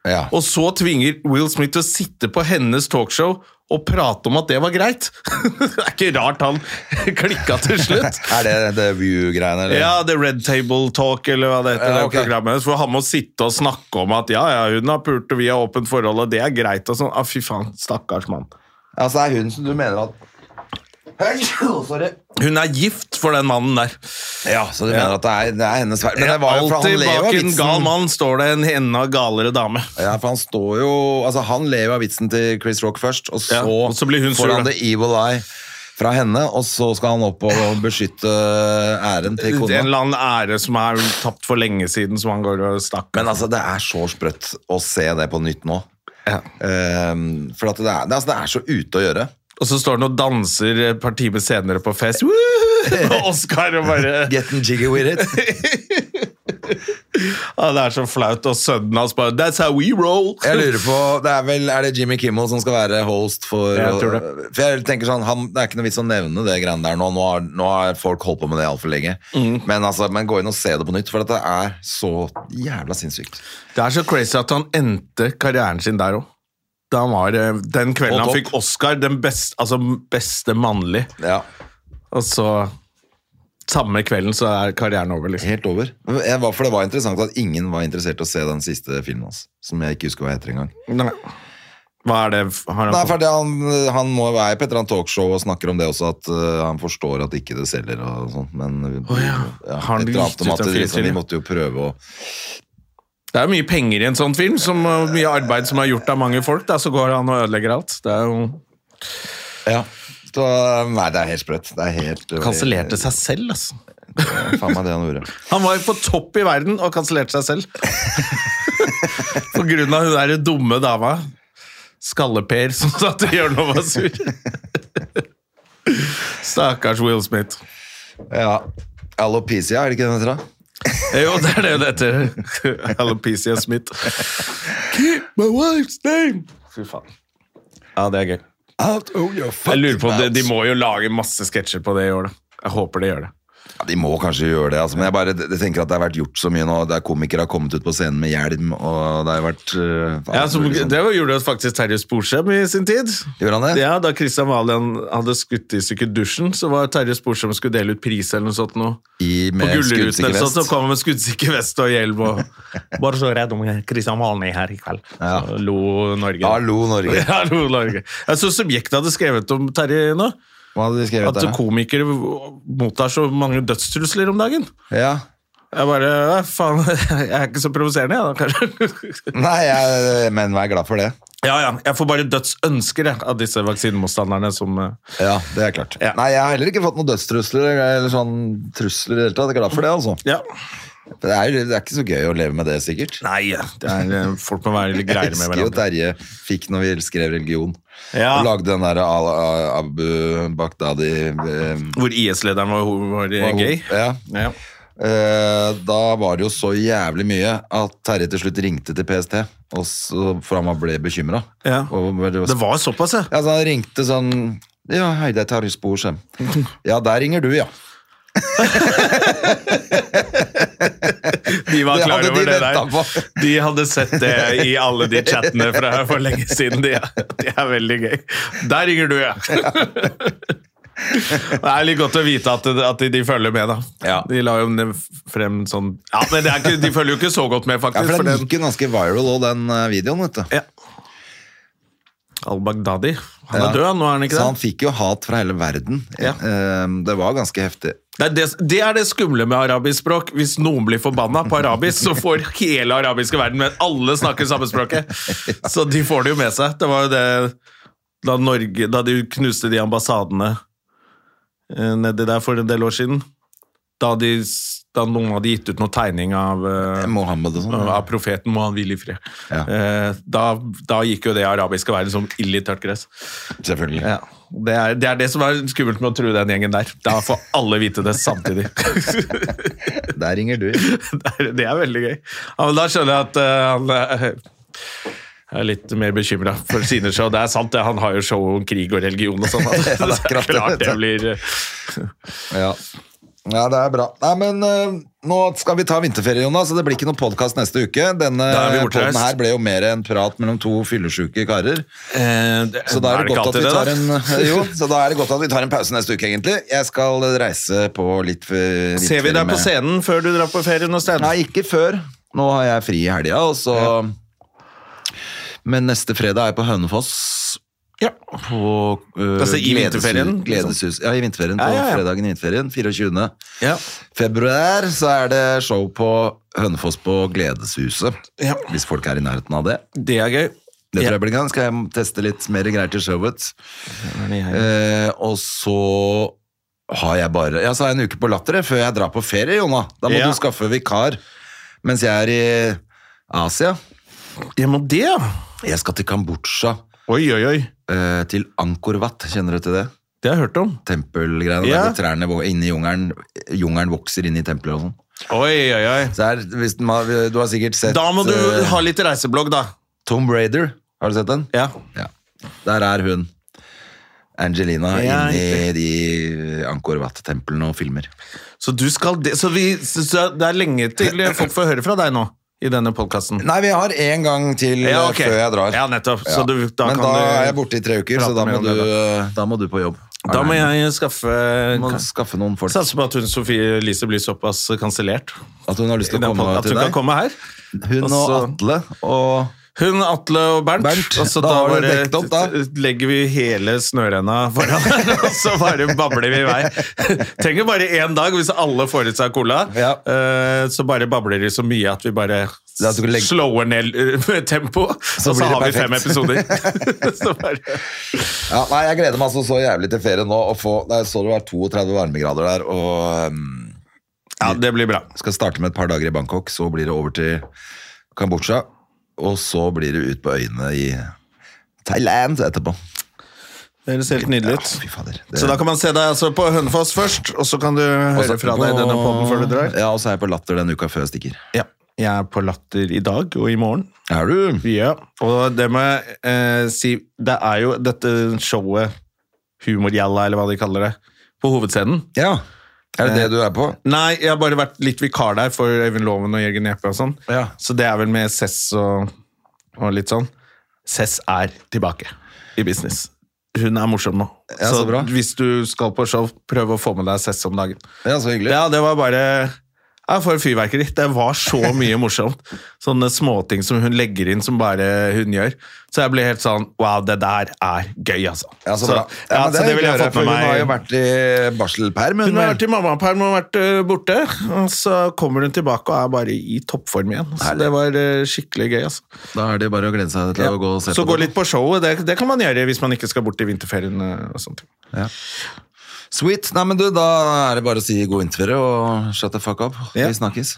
Speaker 2: Ja.
Speaker 1: Og så tvinger Will Smith til å sitte på hennes talkshow og prate om at det var greit. det er ikke rart han klikka til slutt.
Speaker 2: Er det det View-greiene? eller?
Speaker 1: Ja, The Red Table Talk, eller hva det heter.
Speaker 2: Ja,
Speaker 1: det
Speaker 2: ok.
Speaker 1: programmet hennes, For han må sitte og snakke om at ja, ja, hun har pult, og vi har åpent forhold, og det er greit, og sånn. Ah, fy faen, stakkars mann.
Speaker 2: Altså, er hun som du mener at Hei, Sorry.
Speaker 1: Hun er gift for den mannen der.
Speaker 2: Ja, så du mener at det er, det er hennes feil. Men det var jo for han
Speaker 1: Alltid
Speaker 2: lever
Speaker 1: bak
Speaker 2: av
Speaker 1: en gal
Speaker 2: vitsen.
Speaker 1: mann står det en enda galere dame.
Speaker 2: Ja, for han står jo Altså, han lever av vitsen til Chris Rock først, og så,
Speaker 1: Ja, og så blir hun sur,
Speaker 2: får han
Speaker 1: da.
Speaker 2: the evil eye fra henne, og så skal han opp og beskytte æren til
Speaker 1: En
Speaker 2: kona.
Speaker 1: eller annen ære som er tapt for lenge siden, som han går og stakk
Speaker 2: Men altså, det er så sprøtt å se det på nytt nå.
Speaker 1: Ja.
Speaker 2: Ehm, for at det er, det, altså, det er så ute å gjøre.
Speaker 1: Og så står han og danser et par timer senere på fest. Woo! Og Oscar og bare
Speaker 2: Getting jiggy with it.
Speaker 1: ah, Det er så flaut. Og sønnen hans bare That's how we roll!
Speaker 2: Jeg lurer på, det Er vel, er det Jimmy Kimmel som skal være host for
Speaker 1: Jeg tror det.
Speaker 2: For jeg tenker sånn, han, Det er ikke noe vits å nevne det greiene der nå. Nå har, nå har folk holdt på med det altfor lenge.
Speaker 1: Mm.
Speaker 2: Men, altså, men gå inn og se det på nytt, for at det er så jævla sinnssykt.
Speaker 1: Det er så crazy at han endte karrieren sin der òg. Da han var, eh, den kvelden
Speaker 2: På
Speaker 1: han
Speaker 2: topp.
Speaker 1: fikk Oscar, den best, altså beste mannlig,
Speaker 2: Ja,
Speaker 1: og så Samme kvelden så er karrieren over, liksom.
Speaker 2: Helt over. Jeg var, for det var interessant at ingen var interessert i å se den siste filmen hans. Som jeg ikke husker hva heter engang.
Speaker 1: Nei. Hva er det har han
Speaker 2: Nei, for det, han, han må være på et eller annet talkshow og snakker om det også, at øh, han forstår at ikke det selger og sånt, men
Speaker 1: Å ja. Har han
Speaker 2: et eller annet
Speaker 1: gitt
Speaker 2: om
Speaker 1: ut en
Speaker 2: at
Speaker 1: film
Speaker 2: det
Speaker 1: til
Speaker 2: liksom,
Speaker 1: det?
Speaker 2: vi måtte jo prøve å
Speaker 1: Det er jo mye penger i en sånn film, som og mye arbeid som er gjort av mange folk. Da, så går han og ødelegger alt. Det er jo
Speaker 2: Ja. Så, nei, det er helt sprøtt. Det er helt eh,
Speaker 1: Kansellerte seg selv, altså.
Speaker 2: Faen meg det han gjorde.
Speaker 1: Han var jo på topp i verden og kansellerte seg selv. På grunn av hun der dumme dama. Skalle-Per som satt i hjørnet og var sur. Stakkars Will Smith.
Speaker 2: Ja. Alopecia, er det ikke det den heter? da?
Speaker 1: Jo, det er det det heter. Alopecia Smith. Keep my wife's name! Fy faen. Ja, det er gøy.
Speaker 2: Out of your
Speaker 1: Jeg lurer på om det,
Speaker 2: mouth.
Speaker 1: De må jo lage masse sketsjer på det i år, da. Jeg håper de gjør det.
Speaker 2: Ja, de må kanskje gjøre det, altså. men jeg bare jeg tenker at det har vært gjort så mye nå. Det er Komikere har kommet ut på scenen med hjelm, og det har jo vært øh, faen,
Speaker 1: Ja, som,
Speaker 2: liksom.
Speaker 1: det gjorde faktisk Terje Sporsem i sin tid.
Speaker 2: Gjorde han det?
Speaker 1: Ja, Da Kristian Valian hadde skutt i stykker dusjen, så var Terje Sporsem skulle dele ut pris eller noe sånt. Noe.
Speaker 2: I,
Speaker 1: På
Speaker 2: med
Speaker 1: Gullruten
Speaker 2: skuddsikker
Speaker 1: eller sånt, så
Speaker 2: vest.
Speaker 1: kom han med skuddsikker vest og hjelm og Bare så redd om Kristian Valen er her i kveld.
Speaker 2: Ja.
Speaker 1: Så lo Norge.
Speaker 2: Hallo, Norge.
Speaker 1: Ja, lo Norge. Jeg så Subjekt hadde skrevet om Terje nå.
Speaker 2: Hva hadde de skrevet
Speaker 1: At
Speaker 2: der? da?
Speaker 1: komikere mottar så mange dødstrusler om dagen.
Speaker 2: Ja.
Speaker 1: Jeg bare «Hva Faen, jeg er ikke så provoserende, jeg, da, kanskje.
Speaker 2: Nei, jeg, men vær glad for det.
Speaker 1: Ja, ja. Jeg får bare dødsønsker jeg, av disse vaksinemotstanderne som eh,
Speaker 2: Ja, det er klart.
Speaker 1: Ja.
Speaker 2: Nei, jeg har heller ikke fått noen dødstrusler eller sånn trusler i det hele tatt. Jeg er glad for det, altså.
Speaker 1: Ja.
Speaker 2: Det er, jo- det er ikke så gøy å leve med det, sikkert.
Speaker 1: Nei, det er, eh, folk må være litt
Speaker 2: Jeg
Speaker 1: greiere med
Speaker 2: husker jo
Speaker 1: hverandre.
Speaker 2: Terje fikk når vi skrev religion.
Speaker 1: Ja.
Speaker 2: Og lagde den der Al- A- Abu Baghdadi eh,
Speaker 1: Hvor IS-lederen var, var eh,
Speaker 2: hva-
Speaker 1: gay.
Speaker 2: Ja.
Speaker 1: Ja.
Speaker 2: Eh, Da var det jo så jævlig mye at Terje til slutt ringte til PST, og så, for han ble bekymra.
Speaker 1: Ja. Det var såpass, ja.
Speaker 2: Ja, så han ringte sånn Ja, hei, det er Terje Sporsem. Ja, der ringer du, ja.
Speaker 1: De var
Speaker 2: Det
Speaker 1: klar over
Speaker 2: hadde de
Speaker 1: det der.
Speaker 2: ventet på.
Speaker 1: De hadde sett det i alle de chattene fra for lenge siden. De, det er veldig gøy. Der ringer du, ja! Det er litt godt å vite at, at de, de følger med, da.
Speaker 2: Ja.
Speaker 1: De la jo ned frem sånn Ja, men det er ikke, de følger jo ikke så godt med,
Speaker 2: Ja,
Speaker 1: faktisk.
Speaker 2: for
Speaker 1: for
Speaker 2: den
Speaker 1: den-
Speaker 2: gikk jo ganske viral òg, den eh, videoen, vet du.
Speaker 1: ja. Al-Baghdadi. Han er
Speaker 2: Ja.
Speaker 1: død, han, nå er han ikke
Speaker 2: Så
Speaker 1: det?
Speaker 2: han fikk jo hat fra hele verden.
Speaker 1: Ja.
Speaker 2: Eh, Det var ganske heftig.
Speaker 1: Det er det, det er det skumle med arabisk språk. Hvis noen blir forbanna på arabisk, så får hele arabiske verden med alle snakker samme språket. Så de får det jo med seg. Det var jo det da Norge Da de knuste de ambassadene eh, nedi der for en del år siden. Da, de, s- da noen hadde gitt ut noe tegning av eh,
Speaker 2: Mohammed og sånn.
Speaker 1: av profeten må han hvile i fred.
Speaker 2: Ja.
Speaker 1: Eh, Da, da gikk jo det arabiske verden som ild i tørt gress.
Speaker 2: Selvfølgelig.
Speaker 1: Ja. Det, er, det er det som er skummelt med å true den gjengen der. Da får alle vite det samtidig.
Speaker 2: Der ringer du.
Speaker 1: det, er, det er veldig gøy. Ja, men da skjønner jeg at eh, han eh, er litt mer bekymra for sine show. Det er sant, det. Han har jo show om krig og religion og sånn.
Speaker 2: det er
Speaker 1: det er
Speaker 2: akkurat det,
Speaker 1: klart det
Speaker 2: vet
Speaker 1: blir eh,
Speaker 2: Ja. ja, det er bra. Nei, men eh, nå skal vi ta vinterferie, Jonas, så det blir ikke noen podkast neste uke. Denne
Speaker 1: Da er vi bortreist.
Speaker 2: podden her ble jo mer en prat mellom to fyllesyke karer.
Speaker 1: eh, det-
Speaker 2: Så da er det,
Speaker 1: ikke
Speaker 2: godt at
Speaker 1: alltid
Speaker 2: vi
Speaker 1: det,
Speaker 2: tar
Speaker 1: da?
Speaker 2: en, eh, jo, så da er det godt at vi tar en pause neste uke, egentlig. Jeg skal reise på litt eh,
Speaker 1: Ser vi deg
Speaker 2: vinterferie
Speaker 1: på
Speaker 2: med-
Speaker 1: scenen før du drar på ferie noe sted?
Speaker 2: Nei, ikke før. Nå har jeg fri i helga, og så Men neste fredag er jeg på Hønefoss.
Speaker 1: Ja.
Speaker 2: På øh,
Speaker 1: Altså i
Speaker 2: Gledeshus-
Speaker 1: vinterferien, liksom?
Speaker 2: Gledeshus. Ja, i vinterferien. På
Speaker 1: Ja, ja, ja.
Speaker 2: fredagen i vinterferien. 24.
Speaker 1: Ja.
Speaker 2: februar så er det show på Hønefoss på Gledeshuset.
Speaker 1: Ja.
Speaker 2: Hvis folk er i nærheten av det.
Speaker 1: Det er gøy.
Speaker 2: Det
Speaker 1: Ja.
Speaker 2: tror jeg blir gøy. Skal jeg teste litt mer greier til showet. Eh, og så har jeg bare Ja, så har jeg en uke på latter jeg, før jeg drar på ferie, Jonna. Da må
Speaker 1: Ja.
Speaker 2: du skaffe vikar mens jeg er i Asia.
Speaker 1: Ja, men det, ja.
Speaker 2: Jeg skal til Kambodsja.
Speaker 1: Oi, oi, oi.
Speaker 2: eh, Til Angkor Wat, kjenner du til det?
Speaker 1: Det har jeg hørt om.
Speaker 2: Tempelgreiene
Speaker 1: Ja.
Speaker 2: der hvor trærne vok- inni jungelen Jungelen vokser inn i tempelet og sånn.
Speaker 1: Oi, oi, oi.
Speaker 2: Så her, hvis den har, Du har sikkert sett
Speaker 1: Da må du
Speaker 2: eh,
Speaker 1: ha litt reiseblogg, da.
Speaker 2: Tom Brader. Har du sett den?
Speaker 1: Ja.
Speaker 2: Ja. Der er hun. Angelina
Speaker 1: Ja,
Speaker 2: inni de eh, Angkor Wat-templene og filmer.
Speaker 1: Så, du skal det, så, vi, så- så det er lenge til folk får høre fra deg nå i denne podkasten.
Speaker 2: Nei, vi har én gang til
Speaker 1: Ja,
Speaker 2: eh,
Speaker 1: ok.
Speaker 2: før jeg drar.
Speaker 1: Ja, nettopp. Så du- da
Speaker 2: Men
Speaker 1: kan
Speaker 2: da
Speaker 1: du
Speaker 2: er jeg borte i tre uker, så
Speaker 1: prate
Speaker 2: da
Speaker 1: mer
Speaker 2: må,
Speaker 1: om
Speaker 2: du,
Speaker 1: det
Speaker 2: eh, da må du på jobb.
Speaker 1: Da må jeg skaffe
Speaker 2: må skaffe noen folk.
Speaker 1: Satser på at hun Sofie Elise blir såpass kansellert.
Speaker 2: At hun har lyst
Speaker 1: i
Speaker 2: til å
Speaker 1: den
Speaker 2: komme
Speaker 1: podden, At
Speaker 2: til
Speaker 1: hun
Speaker 2: deg.
Speaker 1: kan komme her.
Speaker 2: Hun og
Speaker 1: Også-
Speaker 2: Atle og
Speaker 1: Hun, Atle og Bernt.
Speaker 2: Bernt,
Speaker 1: og så
Speaker 2: da har du
Speaker 1: bare
Speaker 2: dekket opp, da.
Speaker 1: legger vi hele snørenna foran, og så bare babler vi i vei. Trenger bare én dag hvis alle får i seg cola.
Speaker 2: Ja.
Speaker 1: eh, Så bare babler de så mye at vi bare
Speaker 2: Det er at du kan legge-
Speaker 1: slår ned eh, tempoet,
Speaker 2: Så
Speaker 1: og så
Speaker 2: blir det
Speaker 1: har vi fem
Speaker 2: perfekt.
Speaker 1: episoder. så bare...
Speaker 2: ja, Nei, jeg gleder meg altså så jævlig til ferie nå. Å få, jeg så det var 32 varmegrader der, og um,
Speaker 1: Ja, det blir bra.
Speaker 2: skal starte med et par dager i Bangkok. Så blir det over til Kambodsja, og så blir det ut på øyene i Thailand etterpå.
Speaker 1: Dere ser helt nydelig ut.
Speaker 2: Ja, fy fader. Det-
Speaker 1: Så da kan man se deg altså på Hønefoss først, og så kan du
Speaker 2: Og så
Speaker 1: høre fra deg i
Speaker 2: på-
Speaker 1: denne poden før du drar.
Speaker 2: Ja, og så er jeg på Latter den uka før jeg stikker.
Speaker 1: Ja. Jeg er på Latter i dag og i morgen.
Speaker 2: Er du?
Speaker 1: Ja, og det må jeg eh, si Det er jo dette showet Humorgjalla, eller hva de kaller det, på hovedscenen.
Speaker 2: Ja. Er det det du er på?
Speaker 1: Nei, jeg har bare vært litt vikar der for Øyvind Loven og Jørgen Jeppe og sånn.
Speaker 2: Ja.
Speaker 1: Så det er vel med Cess og, og litt sånn. Cess er tilbake i business. Hun er morsom nå.
Speaker 2: Ja, så bra.
Speaker 1: hvis du skal på show, prøv å få med deg Cess om dagen.
Speaker 2: Ja, så hyggelig.
Speaker 1: Ja, det var bare ja, For fyrverkeri. Det var så mye morsomt. Sånne småting som hun legger inn, som bare hun gjør. Så jeg ble helt sånn Wow, det der er gøy, altså.
Speaker 2: Ja, så bra.
Speaker 1: ja, så
Speaker 2: men
Speaker 1: det,
Speaker 2: er
Speaker 1: ville jeg
Speaker 2: hyggelig å
Speaker 1: fått
Speaker 2: høre,
Speaker 1: med
Speaker 2: for Hun har
Speaker 1: meg.
Speaker 2: jo vært i barselperm.
Speaker 1: Hun har
Speaker 2: vel?
Speaker 1: vært i mammaperm og vært øh, borte, og så kommer hun tilbake og er bare i toppform igjen. Så
Speaker 2: Herlig.
Speaker 1: det var øh, skikkelig gøy, altså.
Speaker 2: Da er det bare å glede seg til
Speaker 1: Ja.
Speaker 2: å gå og se
Speaker 1: Så
Speaker 2: på
Speaker 1: gå
Speaker 2: det.
Speaker 1: litt på showet, det, det kan man gjøre hvis man ikke skal bort i vinterferien øh, og sånt.
Speaker 2: Sweet. Nei, men du, da er det bare å si god vinterferie og shut the fuck up.
Speaker 1: Ja.
Speaker 2: Vi snakkes.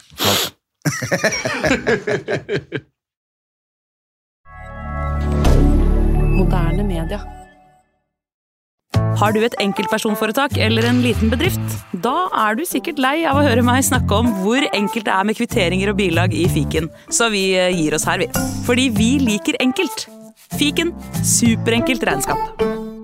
Speaker 3: Moderne media.
Speaker 4: Har du et enkeltpersonforetak eller en liten bedrift? Da er du sikkert lei av å høre meg snakke om hvor enkelt det er med kvitteringer og bilag i fiken, så vi eh, gir oss her, vi. Fordi vi liker enkelt. Fiken superenkelt regnskap.